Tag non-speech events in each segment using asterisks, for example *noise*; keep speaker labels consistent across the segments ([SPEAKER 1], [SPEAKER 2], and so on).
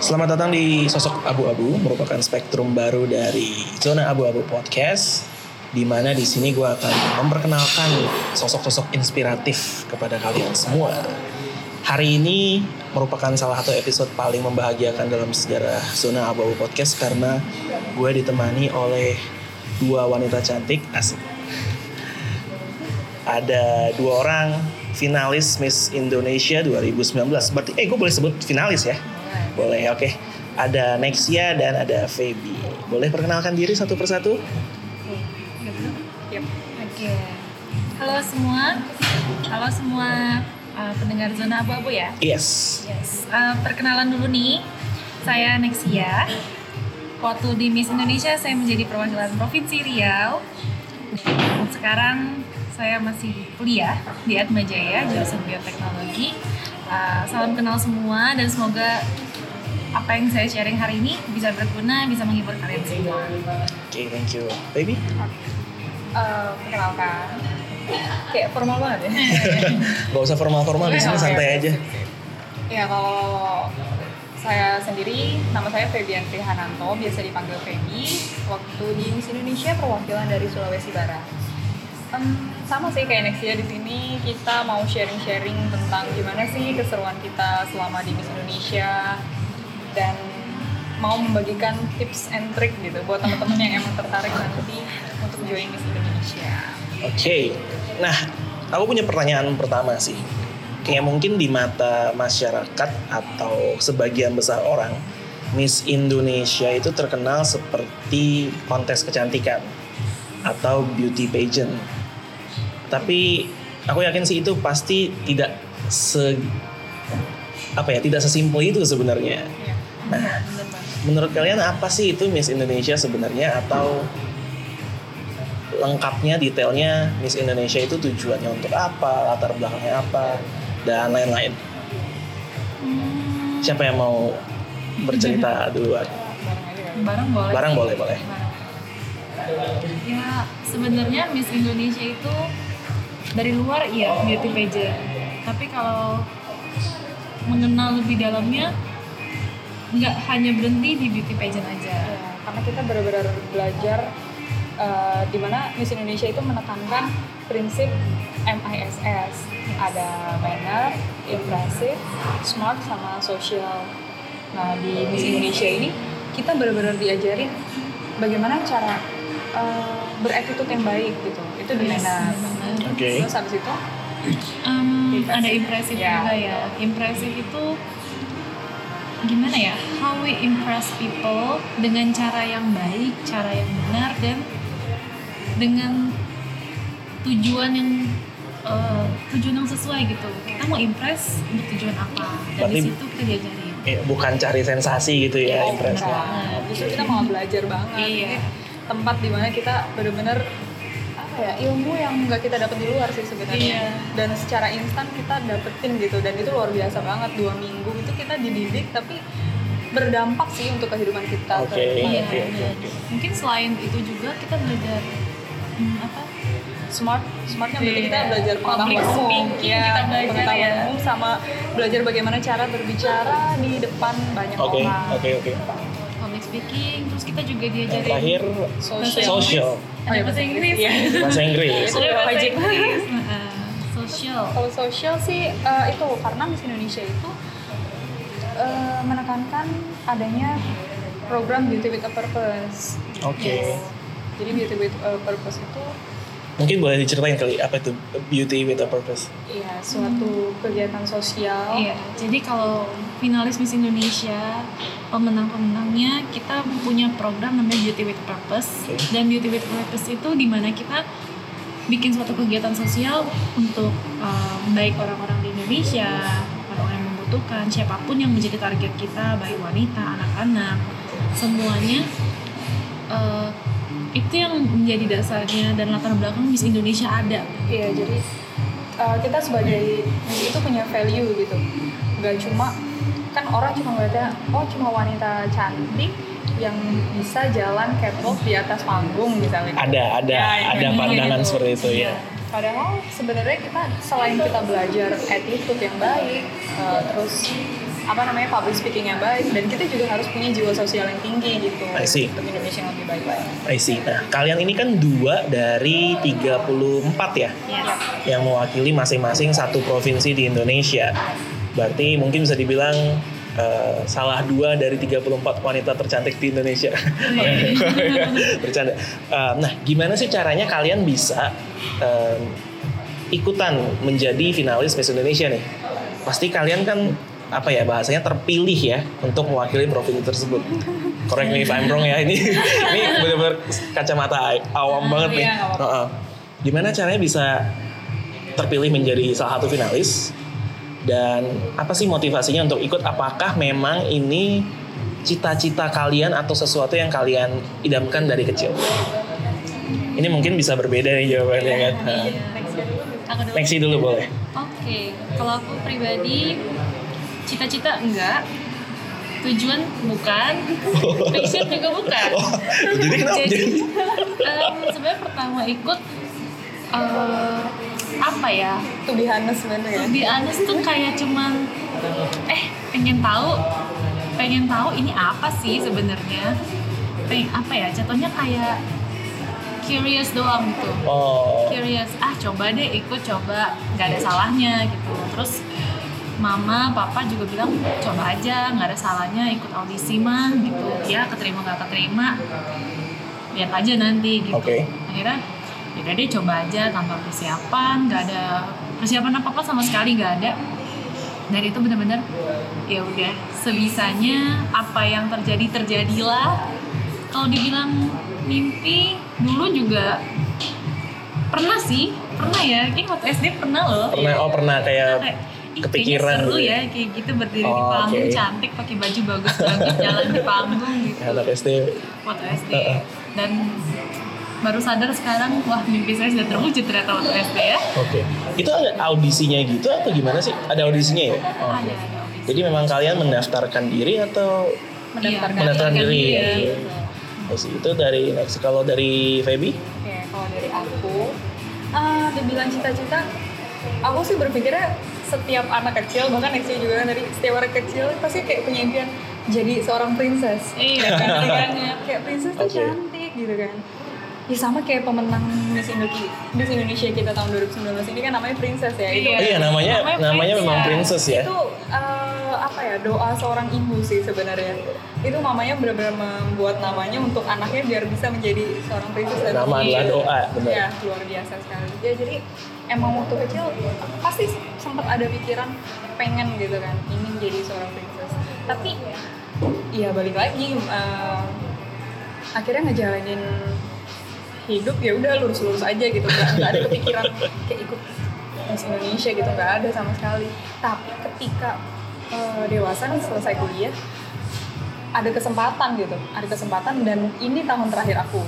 [SPEAKER 1] Selamat datang di Sosok Abu-Abu, merupakan spektrum baru dari Zona Abu-Abu Podcast. Di mana di sini gue akan memperkenalkan sosok-sosok inspiratif kepada kalian semua. Hari ini merupakan salah satu episode paling membahagiakan dalam sejarah Zona Abu-Abu Podcast karena gue ditemani oleh dua wanita cantik asik. Ada dua orang finalis Miss Indonesia 2019. Berarti eh gue boleh sebut finalis ya? Boleh, oke. Ada Nexia dan ada Feby. Boleh perkenalkan diri satu persatu?
[SPEAKER 2] Oke. Halo semua. Halo semua uh, pendengar zona abu-abu ya.
[SPEAKER 1] Yes.
[SPEAKER 2] Yes. Uh, perkenalan dulu nih. Saya Nexia. Waktu di Miss Indonesia saya menjadi perwakilan provinsi Riau. Dan Sekarang saya masih kuliah di Atma Jaya jurusan bioteknologi. Uh, salam kenal semua dan semoga apa yang saya sharing hari ini bisa berguna, bisa menghibur kalian semua.
[SPEAKER 1] Oke, thank you. Feby?
[SPEAKER 3] Eh, perkenalkan kayak formal banget ya
[SPEAKER 1] Gak usah formal-formal, di sini
[SPEAKER 3] Oke,
[SPEAKER 1] santai
[SPEAKER 3] oke,
[SPEAKER 1] aja.
[SPEAKER 3] sip, sip. ya kalau saya sendiri nama saya Febian Prihananto biasa dipanggil Febi waktu di Miss Indonesia perwakilan dari Sulawesi Barat Em, sama sih kayak Nexia di sini kita mau sharing-sharing tentang gimana sih keseruan kita selama di Miss Indonesia dan mau membagikan tips and trick gitu buat teman-teman yang emang tertarik nanti untuk join Miss Indonesia.
[SPEAKER 1] Oke. Nah, aku punya pertanyaan pertama sih. Kayak mungkin di mata masyarakat atau sebagian besar orang, Miss Indonesia itu terkenal seperti kontes kecantikan atau beauty pageant. Tapi aku yakin sih itu pasti tidak se apa ya, tidak sesimpel itu sebenarnya.
[SPEAKER 3] Iya.
[SPEAKER 1] Nah, menurut kalian apa sih itu Miss Indonesia sebenarnya atau lengkapnya detailnya Miss Indonesia itu tujuannya untuk apa, latar belakangnya apa dan lain-lain. Siapa yang mau bercerita duluan?
[SPEAKER 3] Bareng
[SPEAKER 2] Barang
[SPEAKER 3] aja kali.
[SPEAKER 2] boleh.
[SPEAKER 1] Barang boleh, boleh.
[SPEAKER 2] Ya, sebenarnya Miss Indonesia itu dari luar iya beauty pageant. Tapi kalau mengenal lebih dalamnya nggak hanya berhenti di beauty pageant aja.
[SPEAKER 3] Ya, karena kita benar-benar belajar eh, di mana Miss Indonesia itu menekankan prinsip MISS. Ada manner, impressive, smart, sama social. Nah di Miss Indonesia ini kita benar-benar diajarin bagaimana cara eh, berattitude yang baik gitu. Itu di
[SPEAKER 2] Yes,
[SPEAKER 3] manner.
[SPEAKER 2] benar.
[SPEAKER 1] Oke.
[SPEAKER 3] Terus habis itu
[SPEAKER 2] Um,
[SPEAKER 3] Impressive.
[SPEAKER 2] ada impresif
[SPEAKER 3] Ya.
[SPEAKER 2] juga ya. Impresif itu gimana ya? How we impress people dengan cara yang baik, cara yang benar dan dengan tujuan yang eh, tujuan yang sesuai gitu. Kita mau impress untuk tujuan apa? Dan di
[SPEAKER 1] Berarti-
[SPEAKER 2] situ kita diajarin.
[SPEAKER 1] Eh, bukan cari sensasi gitu ya
[SPEAKER 3] Oh,
[SPEAKER 1] impresnya.
[SPEAKER 3] beneran. Justru kita malah belajar banget.
[SPEAKER 2] Iya.
[SPEAKER 3] Ini tempat di mana kita bener-bener apa ya ilmu yang nggak kita dapat di luar sih
[SPEAKER 2] Iya.
[SPEAKER 3] sebenarnya. Dan secara instan kita dapetin gitu dan itu luar biasa banget dua minggu itu kita dididik tapi berdampak sih untuk kehidupan kita.
[SPEAKER 1] Oke,
[SPEAKER 3] Iya.
[SPEAKER 1] oke, oke, oke.
[SPEAKER 2] Mungkin selain itu juga kita belajar hmm, apa?
[SPEAKER 3] Smart, smartnya berarti
[SPEAKER 2] Iya.
[SPEAKER 3] kita belajar
[SPEAKER 2] Public
[SPEAKER 3] pengetahuan umum,
[SPEAKER 2] speaking
[SPEAKER 3] Iya,
[SPEAKER 2] kita belajar
[SPEAKER 3] pengetahuan
[SPEAKER 2] ya.
[SPEAKER 3] umum sama belajar bagaimana cara berbicara di depan banyak
[SPEAKER 1] Oke,
[SPEAKER 3] orang.
[SPEAKER 1] oke, oke.
[SPEAKER 2] Public speaking, terus kita juga
[SPEAKER 1] Yang
[SPEAKER 2] diajarin
[SPEAKER 1] terakhir
[SPEAKER 3] Social.
[SPEAKER 1] social,
[SPEAKER 2] Ada bahasa Inggris.
[SPEAKER 3] Iya.
[SPEAKER 1] bahasa
[SPEAKER 3] *laughs*
[SPEAKER 1] Inggris.
[SPEAKER 3] Itu juga Iya, wajib.
[SPEAKER 2] *laughs* Heeh, eh, Social.
[SPEAKER 3] Kalau sosial sih eh, itu karena Miss Indonesia itu eh, menekankan adanya program Beauty with a Purpose.
[SPEAKER 1] Oke.
[SPEAKER 3] Jadi Beauty with a Purpose itu
[SPEAKER 1] Mungkin boleh diceritain kali apa itu beauty with a purpose.
[SPEAKER 3] ya suatu kegiatan sosial.
[SPEAKER 2] Iya, jadi kalau finalis Miss Indonesia, pemenang-pemenangnya kita punya program namanya Beauty with Purpose.
[SPEAKER 1] Oke.
[SPEAKER 2] Dan Beauty with Purpose itu dimana kita bikin suatu kegiatan sosial untuk um, baik orang-orang di Indonesia, orang-orang yang membutuhkan, siapapun yang menjadi target kita, baik wanita, anak-anak, semuanya eh, itu yang menjadi dasarnya dan latar belakang Miss Indonesia ada.
[SPEAKER 3] Iya, jadi eh, kita sebagai Miss itu punya value gitu. Gak cuma kan orang cuma ngeliatnya oh cuma wanita cantik yang bisa jalan catwalk di atas panggung misalnya.
[SPEAKER 1] Ada, ada,
[SPEAKER 3] Ya, ya,
[SPEAKER 1] ada
[SPEAKER 2] ya,
[SPEAKER 1] pandangan
[SPEAKER 2] gitu.
[SPEAKER 1] seperti itu ya.
[SPEAKER 3] Iya. Padahal sebenarnya kita selain kita belajar attitude yang baik, eh, terus apa namanya public speaking yang baik dan kita juga harus punya jiwa sosial yang tinggi gitu
[SPEAKER 1] I see.
[SPEAKER 3] untuk Indonesia yang lebih baik lagi.
[SPEAKER 1] I see. Nah, kalian ini kan dua dari 34 ya
[SPEAKER 4] Yes.
[SPEAKER 1] yang mewakili masing-masing satu provinsi di Indonesia. Berarti mungkin bisa dibilang eh, salah dua dari 34 wanita tercantik di Indonesia. Iya. *laughs* Bercanda. Eh, nah, gimana sih caranya kalian bisa eh, em, ikutan menjadi finalis Miss Indonesia nih? Pasti kalian kan apa ya bahasanya terpilih ya untuk mewakili provinsi tersebut. Correct me if I'm wrong ya ini ini benar-benar kacamata awam banget nih.
[SPEAKER 3] iya, nggak apa-apa.
[SPEAKER 1] Heeh. Gimana caranya bisa terpilih menjadi salah satu finalis dan apa sih motivasinya untuk ikut apakah memang ini cita-cita kalian atau sesuatu yang kalian idamkan dari kecil ini mungkin bisa berbeda nih jawabannya kan Nah,
[SPEAKER 3] Iya.
[SPEAKER 2] Iya. Aku dulu.
[SPEAKER 1] Lexi dulu boleh
[SPEAKER 2] Oke, kalau aku pribadi cita-cita enggak, tujuan
[SPEAKER 1] *laughs*
[SPEAKER 2] bukan, passion juga bukan.
[SPEAKER 1] oh, jadi kenapa
[SPEAKER 2] *laughs* Jadi,
[SPEAKER 1] *laughs* jadi
[SPEAKER 2] em, sebenarnya pertama ikut eh, apa ya?
[SPEAKER 3] To be honest bener ya.
[SPEAKER 2] Lebih honest tuh kayak cuman eh pengen tahu pengen tahu ini apa sih sebenarnya? Pengen apa ya? Contohnya kayak curious doang gitu
[SPEAKER 1] oh
[SPEAKER 2] curious ah coba deh ikut coba nggak ada salahnya gitu terus mama papa juga bilang coba aja nggak ada salahnya ikut audisi mah gitu ya keterima nggak keterima lihat aja nanti gitu
[SPEAKER 1] Oke.
[SPEAKER 2] akhirnya yaudah deh coba aja tanpa persiapan nggak ada persiapan apa apa sama sekali nggak ada dan itu benar-benar ya udah sebisanya apa yang terjadi terjadilah kalau dibilang mimpi dulu juga pernah sih pernah ya kayak waktu SD pernah loh
[SPEAKER 1] pernah oh pernah kayak
[SPEAKER 2] Nah, kayak "Ih,
[SPEAKER 1] kepikiran
[SPEAKER 2] kayaknya seru
[SPEAKER 1] gitu
[SPEAKER 2] ya
[SPEAKER 1] ya."
[SPEAKER 2] kayak gitu berdiri di
[SPEAKER 1] Oh,
[SPEAKER 2] panggung
[SPEAKER 1] oke.
[SPEAKER 2] cantik pakai baju bagus bagus jalan di panggung gitu
[SPEAKER 1] anak SD
[SPEAKER 2] waktu SD
[SPEAKER 1] Heeh.
[SPEAKER 2] dan baru sadar sekarang wah mimpi saya sudah terwujud ternyata waktu SD ya
[SPEAKER 1] oke itu ada audisinya gitu atau gimana sih ada audisinya ya Oh, oke.
[SPEAKER 2] ada ada audisi.
[SPEAKER 1] jadi memang kalian mendaftarkan diri atau
[SPEAKER 3] Mendaftarkan
[SPEAKER 2] Iya,
[SPEAKER 1] mendaftarkan diri
[SPEAKER 2] diri,
[SPEAKER 1] ya.
[SPEAKER 2] ya.
[SPEAKER 1] Oke. itu dari Lexi kalau dari Feby
[SPEAKER 3] Oke, Ya, kalau dari aku, ah dibilang cita-cita, aku sih berpikirnya setiap anak kecil, bahkan Nexi juga kan dari setiap anak kecil pasti kayak punya impian jadi seorang princess.
[SPEAKER 2] Iya,
[SPEAKER 3] Kan,
[SPEAKER 2] bener
[SPEAKER 3] kan?
[SPEAKER 2] banget.
[SPEAKER 3] *laughs* kayak princess tuh
[SPEAKER 1] Oke.
[SPEAKER 3] cantik gitu kan. Ya sama kayak pemenang Miss Indonesia, Miss Indonesia kita tahun 2019 ini kan namanya princess ya. Itu
[SPEAKER 2] Iya.
[SPEAKER 1] iya namanya
[SPEAKER 2] Namanya
[SPEAKER 1] namanya memang
[SPEAKER 2] princess.
[SPEAKER 1] princess ya
[SPEAKER 3] itu eh, apa ya doa seorang ibu sih sebenarnya itu mamanya benar-benar membuat namanya untuk anaknya biar bisa menjadi seorang princess dan
[SPEAKER 1] Nama adalah doa, benar.
[SPEAKER 3] ya luar biasa sekali ya jadi emang waktu kecil pasti sempat ada pikiran pengen gitu kan ingin jadi seorang princess tapi ya balik lagi eh, akhirnya ngejalanin hidup ya udah lurus-lurus aja gitu nggak nggak ada kepikiran kayak ikut Miss Indonesia gitu nggak ada sama sekali tapi ketika eh, dewasa nih selesai kuliah ada kesempatan gitu ada kesempatan dan ini tahun terakhir aku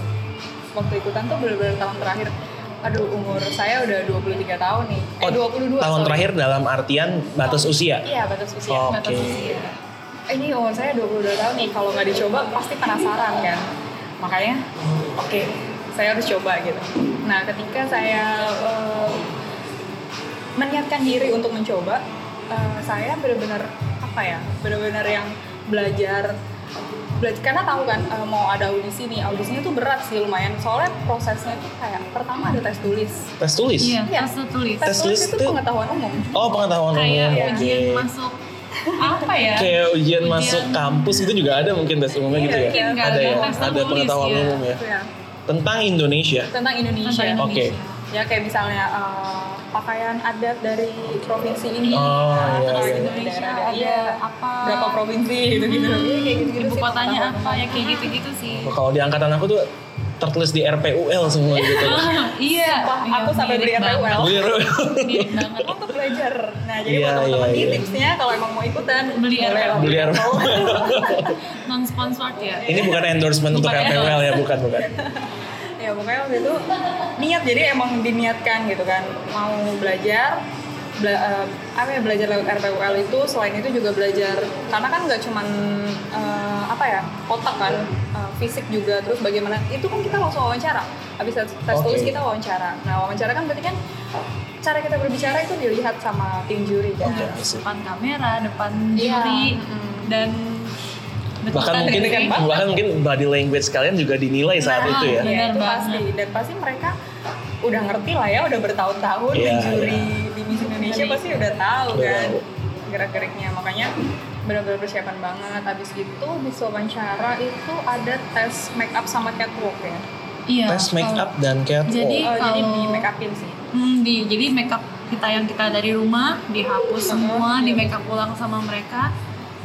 [SPEAKER 3] waktu ikutan tuh bener-bener tahun terakhir aduh umur saya udah 23 tahun nih eh,
[SPEAKER 1] Oh,
[SPEAKER 3] 22
[SPEAKER 1] tahun
[SPEAKER 3] sorry.
[SPEAKER 1] terakhir dalam artian batas usia
[SPEAKER 3] iya batas usia
[SPEAKER 1] Oke.
[SPEAKER 3] batas usia ini umur saya 22 tahun nih kalau nggak dicoba pasti penasaran kan makanya oke saya harus coba gitu nah ketika saya eh, meniatkan diri untuk mencoba eh, saya benar-benar apa ya benar-benar yang belajar belajar karena tahu kan eh, mau ada audisi nih audisinya tuh berat sih lumayan soalnya prosesnya tuh kayak pertama ada tes tulis
[SPEAKER 1] tes tulis
[SPEAKER 2] iya
[SPEAKER 3] Iya.
[SPEAKER 2] pas tulis
[SPEAKER 3] tes,
[SPEAKER 1] Tes
[SPEAKER 3] tulis,
[SPEAKER 1] tulis
[SPEAKER 3] itu
[SPEAKER 1] tuh-
[SPEAKER 3] pengetahuan umum
[SPEAKER 1] oh pengetahuan
[SPEAKER 2] kayak
[SPEAKER 1] umum oke
[SPEAKER 2] ujian masuk apa ya
[SPEAKER 1] kayak ujian masuk kampus itu juga ada mungkin tes umumnya gitu ya
[SPEAKER 3] Iya,
[SPEAKER 2] nggak
[SPEAKER 1] ada
[SPEAKER 2] ada
[SPEAKER 1] ya
[SPEAKER 2] tes
[SPEAKER 1] ada
[SPEAKER 2] tertulis
[SPEAKER 1] pengetahuan
[SPEAKER 2] ya.
[SPEAKER 1] umum ya
[SPEAKER 3] Itu ya.
[SPEAKER 1] tentang Indonesia
[SPEAKER 3] tentang Indonesia
[SPEAKER 2] Tentang
[SPEAKER 1] Oke.
[SPEAKER 2] Indonesia.
[SPEAKER 3] ya kayak misalnya eh, pakaian adat dari provinsi ini
[SPEAKER 1] Oh, iya,
[SPEAKER 3] terus
[SPEAKER 1] iya.
[SPEAKER 3] Indonesia
[SPEAKER 2] Daerah
[SPEAKER 3] ada
[SPEAKER 2] ada apa?
[SPEAKER 3] berapa provinsi gitu gitu kayak gitu
[SPEAKER 2] ibu kotanya apa ya kayak gitu-gitu
[SPEAKER 1] *laughs*
[SPEAKER 2] sih
[SPEAKER 1] kalau di angkatan aku tuh tertulis di RPUL semua gitu
[SPEAKER 2] iya
[SPEAKER 3] Wah, aku
[SPEAKER 2] Iya,
[SPEAKER 3] sampai beli
[SPEAKER 2] mirip banget.
[SPEAKER 3] RPUL
[SPEAKER 1] Beli RPUL.
[SPEAKER 2] Mirip banget
[SPEAKER 3] untuk belajar nah jadi
[SPEAKER 1] Iya,
[SPEAKER 3] buat
[SPEAKER 1] iya,
[SPEAKER 3] teman-teman nih
[SPEAKER 1] iya.
[SPEAKER 3] tipsnya kalau emang mau ikutan
[SPEAKER 2] Beli
[SPEAKER 3] boleh lah.
[SPEAKER 1] beli RPUL
[SPEAKER 2] non sponsored ya
[SPEAKER 1] ini bukan endorsement untuk
[SPEAKER 2] Bukan
[SPEAKER 1] RPUL ya bukan bukan
[SPEAKER 3] ya pokoknya waktu itu niat jadi emang diniatkan gitu kan mau belajar bela, eh, apa ya belajar lewat RPUL itu selain itu juga belajar karena kan nggak cuman eh, apa ya otak kan eh, fisik juga terus bagaimana itu kan kita langsung wawancara habis tes tes
[SPEAKER 1] Oke.
[SPEAKER 3] tulis kita wawancara nah wawancara kan berarti kan cara kita berbicara itu dilihat sama tim juri kan
[SPEAKER 1] Oke, I see.
[SPEAKER 5] depan kamera, depan
[SPEAKER 3] Iya.
[SPEAKER 5] juri,
[SPEAKER 3] Mm-mm.
[SPEAKER 5] dan
[SPEAKER 1] bahkan mungkin
[SPEAKER 5] kan
[SPEAKER 1] bahkan mungkin body language kalian juga dinilai saat
[SPEAKER 3] Nah,
[SPEAKER 1] itu ya
[SPEAKER 5] iya.
[SPEAKER 3] iya, itu
[SPEAKER 5] Benar
[SPEAKER 3] pasti dan pasti mereka udah ngerti lah ya udah bertahun-tahun
[SPEAKER 1] Iya,
[SPEAKER 3] di juri
[SPEAKER 1] iya.
[SPEAKER 3] di Miss Indonesia pasti udah tahu
[SPEAKER 1] Udah
[SPEAKER 3] kan
[SPEAKER 1] tahu.
[SPEAKER 3] gerak-geriknya makanya benar-benar persiapan banget habis itu habis wawancara itu ada tes make up sama catwalk ya
[SPEAKER 5] Iya,
[SPEAKER 1] tes make
[SPEAKER 5] kalau-
[SPEAKER 1] up dan catwalk
[SPEAKER 5] Jadi,
[SPEAKER 3] Eh, jadi
[SPEAKER 5] Kalau-
[SPEAKER 3] di make upin sih
[SPEAKER 5] Hmm, di, jadi makeup kita yang kita dari rumah dihapus semua, di makeup ulang sama mereka.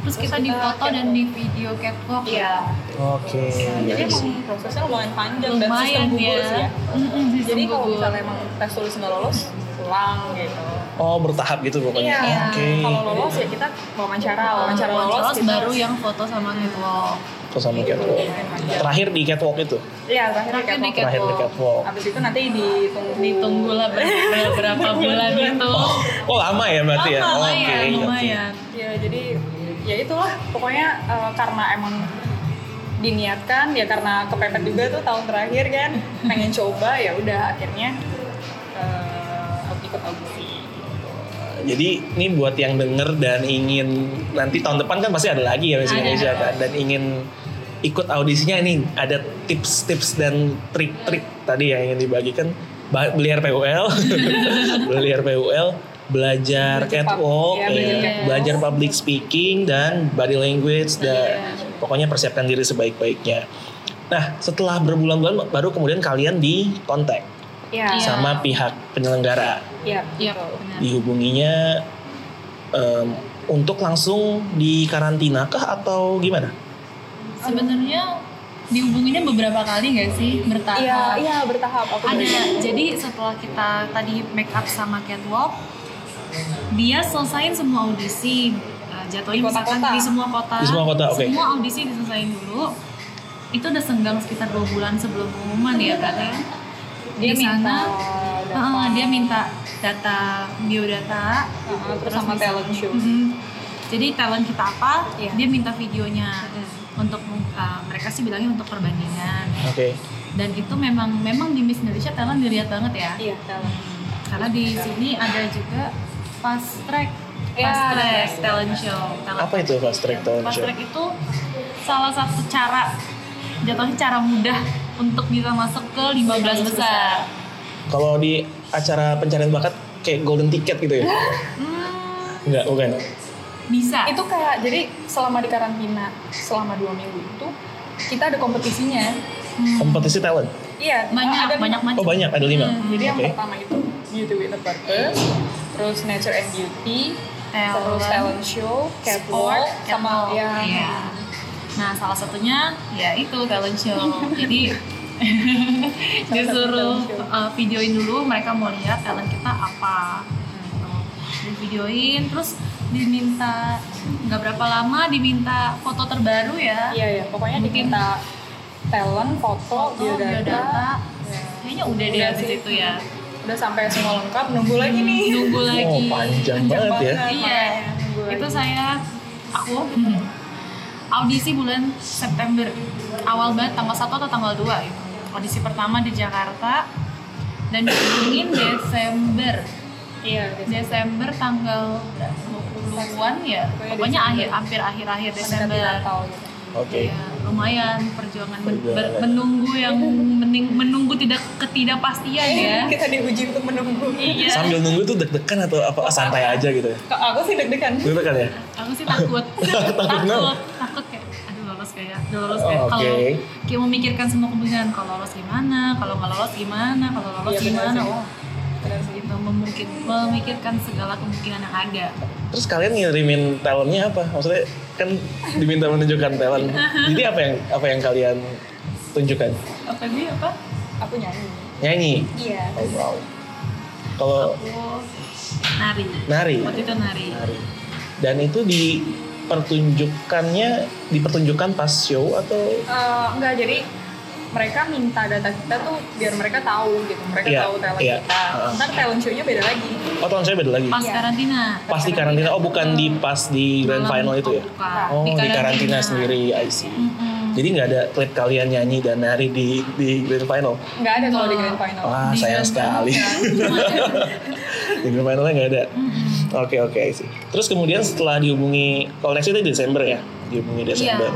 [SPEAKER 5] Terus
[SPEAKER 3] Terus
[SPEAKER 5] kita
[SPEAKER 3] kita
[SPEAKER 5] di foto
[SPEAKER 3] catwalk.
[SPEAKER 5] dan di video catwalk ya.
[SPEAKER 1] oke
[SPEAKER 3] jadi
[SPEAKER 1] I see.
[SPEAKER 3] emang prosesnya lumayan panjang dan sistem
[SPEAKER 5] Lumayan
[SPEAKER 3] gugur sih
[SPEAKER 5] ya.
[SPEAKER 3] ya
[SPEAKER 5] Mm-mm, sistem
[SPEAKER 3] jadi kalau
[SPEAKER 5] gugur.
[SPEAKER 3] misalnya emang tes tulis nggak lolos pulang gitu
[SPEAKER 1] oh bertahap gitu pokoknya
[SPEAKER 3] Iya,
[SPEAKER 1] oke
[SPEAKER 3] kalau lolos ya kita wawancara wawancara,
[SPEAKER 5] Wawancara
[SPEAKER 3] lolos gitu. kita-
[SPEAKER 5] baru ya. yang foto sama catwalk.
[SPEAKER 1] terus sama catwalk terakhir di catwalk itu
[SPEAKER 3] Iya, terakhir di
[SPEAKER 5] Terakhir di
[SPEAKER 3] catwalk.
[SPEAKER 1] terakhir di catwalk
[SPEAKER 3] Abis itu nanti ditunggu
[SPEAKER 5] Ditunggulah ber- ber- berapa
[SPEAKER 3] Iya,
[SPEAKER 5] bulan itu.
[SPEAKER 1] oh lama ya berarti ya
[SPEAKER 5] Lama,
[SPEAKER 1] Oh, oke
[SPEAKER 5] lumayan,
[SPEAKER 1] oke.
[SPEAKER 5] lumayan.
[SPEAKER 3] Ya jadi ya itulah pokoknya eh, karena emang diniatkan ya karena kepepet juga tuh tahun terakhir kan pengen coba ya udah akhirnya eh, aku ikut audisi.
[SPEAKER 1] Jadi ini buat yang denger dan ingin nanti tahun depan kan pasti ada lagi ya Miss
[SPEAKER 5] Ada.
[SPEAKER 1] Indonesia kan dan ingin ikut audisinya ini ada tips-tips dan trik-trik tadi yang ingin dibagikan Ba- beli RPUL,
[SPEAKER 5] *laughs*
[SPEAKER 1] beli RPUL, belajar
[SPEAKER 3] Belajar pub-
[SPEAKER 1] catwalk, ya,
[SPEAKER 3] ya, belajar
[SPEAKER 5] catwalk. Iya.
[SPEAKER 1] belajar public speaking dan body language dan pokoknya persiapkan diri sebaik-baiknya. Nah, setelah berbulan-bulan baru kemudian kalian di kontak
[SPEAKER 3] Iya.
[SPEAKER 5] Iya.
[SPEAKER 1] sama pihak penyelenggara
[SPEAKER 3] Iya.
[SPEAKER 5] Iya,
[SPEAKER 3] betul.
[SPEAKER 5] benar.
[SPEAKER 1] dihubunginya em, untuk langsung dikarantina kah atau gimana?
[SPEAKER 5] Sebenarnya dihubunginnya beberapa kali nggak sih bertahap?
[SPEAKER 3] Iya, iya bertahap aku
[SPEAKER 5] ada
[SPEAKER 3] belajar.
[SPEAKER 5] jadi setelah kita tadi make up sama catwalk dia selesain semua audisi Nah,
[SPEAKER 3] Di
[SPEAKER 5] jatuhnya misalkan
[SPEAKER 3] kota-kota.
[SPEAKER 5] di semua kota
[SPEAKER 1] Di semua kota, oke.
[SPEAKER 5] semua audisi diselesain dulu itu udah senggang sekitar dua bulan sebelum pengumuman ya karena
[SPEAKER 3] Dia
[SPEAKER 5] di sana
[SPEAKER 3] minta
[SPEAKER 5] ah,
[SPEAKER 3] data.
[SPEAKER 5] dia minta data biodata
[SPEAKER 3] Ah, terus sama
[SPEAKER 5] misal-
[SPEAKER 3] talent show.
[SPEAKER 5] Mhm. jadi talent kita apa
[SPEAKER 3] Iya.
[SPEAKER 5] dia minta videonya untuk ah, mereka sih bilangnya untuk perbandingan
[SPEAKER 1] Oke.
[SPEAKER 5] dan itu memang memang di Miss Indonesia talent dilihat banget ya
[SPEAKER 3] Iya, talent.
[SPEAKER 5] karena di sini ada juga fast track
[SPEAKER 3] Ya,
[SPEAKER 5] Iya, fast track
[SPEAKER 3] ada.
[SPEAKER 5] talent show Talent-
[SPEAKER 1] Apa itu fast track talent
[SPEAKER 5] fast
[SPEAKER 1] show?
[SPEAKER 5] track itu salah satu cara jatuhnya cara mudah untuk bisa masuk ke 15 besar
[SPEAKER 1] Kalau di acara pencarian bakat kayak golden ticket gitu ya?
[SPEAKER 5] hmm,
[SPEAKER 1] Enggak, bukan.
[SPEAKER 5] bisa
[SPEAKER 3] itu kayak jadi selama di karantina selama dua minggu itu kita ada kompetisinya
[SPEAKER 5] Hmm,
[SPEAKER 1] Kompetisi talent.
[SPEAKER 3] iya
[SPEAKER 5] banyak
[SPEAKER 3] ada
[SPEAKER 5] banyak
[SPEAKER 1] Oh
[SPEAKER 5] macam
[SPEAKER 1] banyak, ada lima.
[SPEAKER 5] Hmm,
[SPEAKER 3] jadi yang
[SPEAKER 1] Oke.
[SPEAKER 3] pertama itu beauty with a purpose terus nature and beauty
[SPEAKER 5] Talent.
[SPEAKER 3] terus talent show catwalk
[SPEAKER 5] Sport,
[SPEAKER 3] sama
[SPEAKER 5] catwalk,
[SPEAKER 3] ya
[SPEAKER 5] iya. nah salah satunya ya itu talent
[SPEAKER 3] *laughs*
[SPEAKER 5] show jadi
[SPEAKER 3] Salah satu
[SPEAKER 5] disuruh
[SPEAKER 3] talent show.
[SPEAKER 5] uh, videoin dulu mereka mau lihat talent kita apa Di videoin terus diminta nggak berapa lama diminta foto terbaru ya
[SPEAKER 3] iya iya pokoknya
[SPEAKER 5] Mungkin-
[SPEAKER 3] diminta talent foto,
[SPEAKER 5] foto
[SPEAKER 3] biodata,
[SPEAKER 5] biodata
[SPEAKER 3] Ya.
[SPEAKER 5] iya, kayaknya udah deh
[SPEAKER 3] Udah
[SPEAKER 5] habis
[SPEAKER 3] sih.
[SPEAKER 5] itu
[SPEAKER 3] *laughs*
[SPEAKER 5] ya
[SPEAKER 3] udah sampai semua lengkap nunggu lagi nih
[SPEAKER 5] nunggu
[SPEAKER 1] Oh
[SPEAKER 5] lagi
[SPEAKER 1] panjang
[SPEAKER 5] *laughs*
[SPEAKER 3] Panjang
[SPEAKER 1] banget ya.
[SPEAKER 3] banget,
[SPEAKER 5] Iya.
[SPEAKER 3] makanya nunggu
[SPEAKER 5] itu
[SPEAKER 3] lagi.
[SPEAKER 5] saya aku audisi bulan September awal banget tanggal 1 atau tanggal 2 gitu. audisi pertama di Jakarta dan diumumin Desember
[SPEAKER 3] iya biasanya.
[SPEAKER 5] Desember tanggal 20-an
[SPEAKER 3] Pokoknya
[SPEAKER 5] ya pokoknya
[SPEAKER 3] Desember.
[SPEAKER 5] akhir hampir akhir-akhir
[SPEAKER 3] Mendekati
[SPEAKER 5] Desember
[SPEAKER 3] Natal gitu.
[SPEAKER 1] Oke.
[SPEAKER 5] Ya, lumayan perjuangan men- ber-
[SPEAKER 1] Perjuangan.
[SPEAKER 5] menunggu yang mening- menunggu tidak ketidakpastian ya
[SPEAKER 3] kita diuji untuk menunggu
[SPEAKER 5] iya
[SPEAKER 1] Sambil nunggu tuh deg-degan atau apa? Ah, santai aja gitu ya?
[SPEAKER 3] Kok aku sih deg-degan
[SPEAKER 1] Deg-degan ya?
[SPEAKER 5] aku sih takut
[SPEAKER 1] *laughs* Takut kenapa?
[SPEAKER 5] takut takut kayak aduh lolos kayak ya?" aduh lolos kayak
[SPEAKER 1] Oh,
[SPEAKER 5] kalau
[SPEAKER 1] oke.
[SPEAKER 5] kayak memikirkan semua kemungkinan kalau lolos gimana kalau nggak lolos gimana kalau lolos
[SPEAKER 3] Iya, benar
[SPEAKER 5] gimana Oh.
[SPEAKER 3] sih.
[SPEAKER 5] wah
[SPEAKER 3] Benar sih.
[SPEAKER 5] gitu memungkin memikirkan segala kemungkinan yang ada
[SPEAKER 1] Terus kalian ngirimin talentnya apa? Maksudnya kan diminta menunjukkan talent. Jadi apa yang apa yang kalian tunjukkan?
[SPEAKER 5] apa sih apa
[SPEAKER 3] aku nyanyi
[SPEAKER 1] Nyanyi.
[SPEAKER 3] iya
[SPEAKER 1] Oh, wow. Kalau
[SPEAKER 5] oh nari
[SPEAKER 1] nari.
[SPEAKER 5] waktu itu nari
[SPEAKER 1] Nari. Dan itu di pertunjukannya dipertunjukkan pas show atau
[SPEAKER 3] enggak Oh, jadi mereka minta data kita tuh biar mereka tahu gitu mereka
[SPEAKER 1] Iya,
[SPEAKER 3] tahu talent
[SPEAKER 1] iya.
[SPEAKER 3] kita
[SPEAKER 1] Heeh.
[SPEAKER 3] ntar talent show-nya beda lagi
[SPEAKER 1] oh tahun saya beda lagi
[SPEAKER 5] pas
[SPEAKER 3] Iya.
[SPEAKER 5] karantina
[SPEAKER 1] pas di karantina oh bukan di pas di grand
[SPEAKER 5] Malam
[SPEAKER 1] final itu ya
[SPEAKER 5] buka.
[SPEAKER 1] oh di karantina sendiri I see
[SPEAKER 5] Mm-mm.
[SPEAKER 1] Jadi nggak ada klip kalian nyanyi dan nari di di grand final.
[SPEAKER 3] Nggak ada kalau di
[SPEAKER 5] Nggak.
[SPEAKER 3] grand final.
[SPEAKER 1] Wah
[SPEAKER 5] Di kan?
[SPEAKER 1] sayang
[SPEAKER 5] Grand
[SPEAKER 1] sekali. *laughs* di grand finalnya nggak ada. Oke oke sih. Terus kemudian setelah dihubungi kalau next itu Desember ya, dihubungi
[SPEAKER 5] Iya.
[SPEAKER 1] Desember.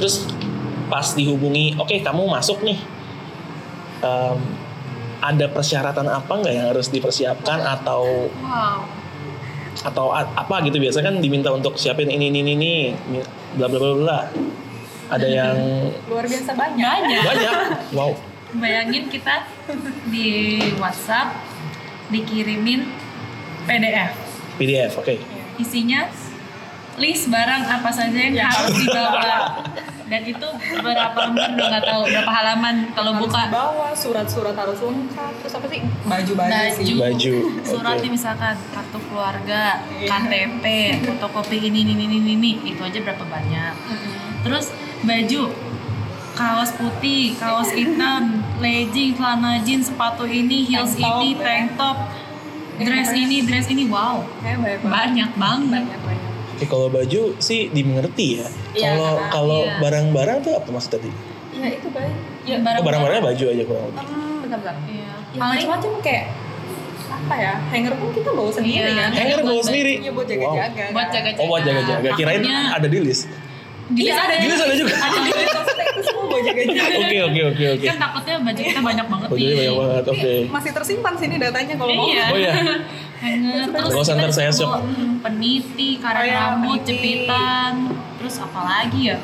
[SPEAKER 1] Terus pas dihubungi, oke kamu masuk nih. Em, ada persyaratan apa nggak yang harus dipersiapkan atau
[SPEAKER 5] Wow.
[SPEAKER 1] atau a- apa gitu biasanya kan diminta untuk siapin ini ini ini, ini bla bla bla bla ada
[SPEAKER 5] *laughs*
[SPEAKER 1] yang
[SPEAKER 3] Luar biasa banyak.
[SPEAKER 5] Banyak.
[SPEAKER 1] banyak wow
[SPEAKER 5] Bayangin kita di WhatsApp dikirimin PDF.
[SPEAKER 1] PDF oke
[SPEAKER 5] Isinya list barang apa saja yang
[SPEAKER 1] Ya.
[SPEAKER 5] harus dibawa. Dan itu berapa lembar udah nggak tahu berapa halaman kalau
[SPEAKER 3] Harus
[SPEAKER 5] buka
[SPEAKER 3] dibawa, surat-surat harus lengkap. Terus apa sih? Baju-baju sih.
[SPEAKER 5] baju,
[SPEAKER 1] Baju,
[SPEAKER 5] surat
[SPEAKER 1] oke.
[SPEAKER 5] nih misalkan kartu keluarga,
[SPEAKER 3] Iya.
[SPEAKER 5] KTP, fotokopi ini ini ini ini, ini itu aja berapa banyak.
[SPEAKER 3] Mm-hmm.
[SPEAKER 5] Terus baju kaos putih, kaos hitam, legging, celana jeans, sepatu ini, heels
[SPEAKER 3] Tank top,
[SPEAKER 5] ini,
[SPEAKER 3] ya.
[SPEAKER 5] tank top, dress ini, dress ini, wow,
[SPEAKER 3] Kayak banyak banget.
[SPEAKER 5] banyak banget.
[SPEAKER 3] Banyak-banyak.
[SPEAKER 1] Oke, Ya, kalau baju sih dimengerti ya
[SPEAKER 3] Iya,
[SPEAKER 1] kalau
[SPEAKER 3] karena-
[SPEAKER 1] kalau
[SPEAKER 5] iya.
[SPEAKER 1] barang-barang tuh apa maksud tadi
[SPEAKER 3] Iya itu banyak. Ya,
[SPEAKER 1] oh, barang-barangnya baju aja kurang lebih
[SPEAKER 3] em, bentar-bentar.
[SPEAKER 5] Iya.
[SPEAKER 3] Ya,
[SPEAKER 5] Paling-
[SPEAKER 3] macam-macam kayak apa ya? Hanger pun kita bawa sendiri
[SPEAKER 5] Iya.
[SPEAKER 3] kan.
[SPEAKER 1] hanger
[SPEAKER 5] buat
[SPEAKER 1] bawa
[SPEAKER 5] baju,
[SPEAKER 1] sendiri
[SPEAKER 3] Iya buat
[SPEAKER 1] wow
[SPEAKER 3] jaga-jaga.
[SPEAKER 5] buat jaga jaga.
[SPEAKER 1] oh buat jaga-jaga kirain ada di list
[SPEAKER 5] Iya ada.
[SPEAKER 1] di list ada juga
[SPEAKER 3] Jadi maksudnya itu semua buat jaga-jaga.
[SPEAKER 1] oke oke oke oke
[SPEAKER 5] Kan takutnya baju kita banyak banget
[SPEAKER 1] bajunya Oh, banyak banget oke
[SPEAKER 3] Masih tersimpan sini datanya kalau mau.
[SPEAKER 5] Iya.
[SPEAKER 1] oh ya
[SPEAKER 5] Hanger, terus
[SPEAKER 1] Terus
[SPEAKER 5] kita
[SPEAKER 1] ntar saya
[SPEAKER 5] disuruh
[SPEAKER 1] siap.
[SPEAKER 5] peniti, karet
[SPEAKER 3] Oh iya,
[SPEAKER 5] rambut,
[SPEAKER 3] peniti.
[SPEAKER 5] jepitan, terus apa lagi ya?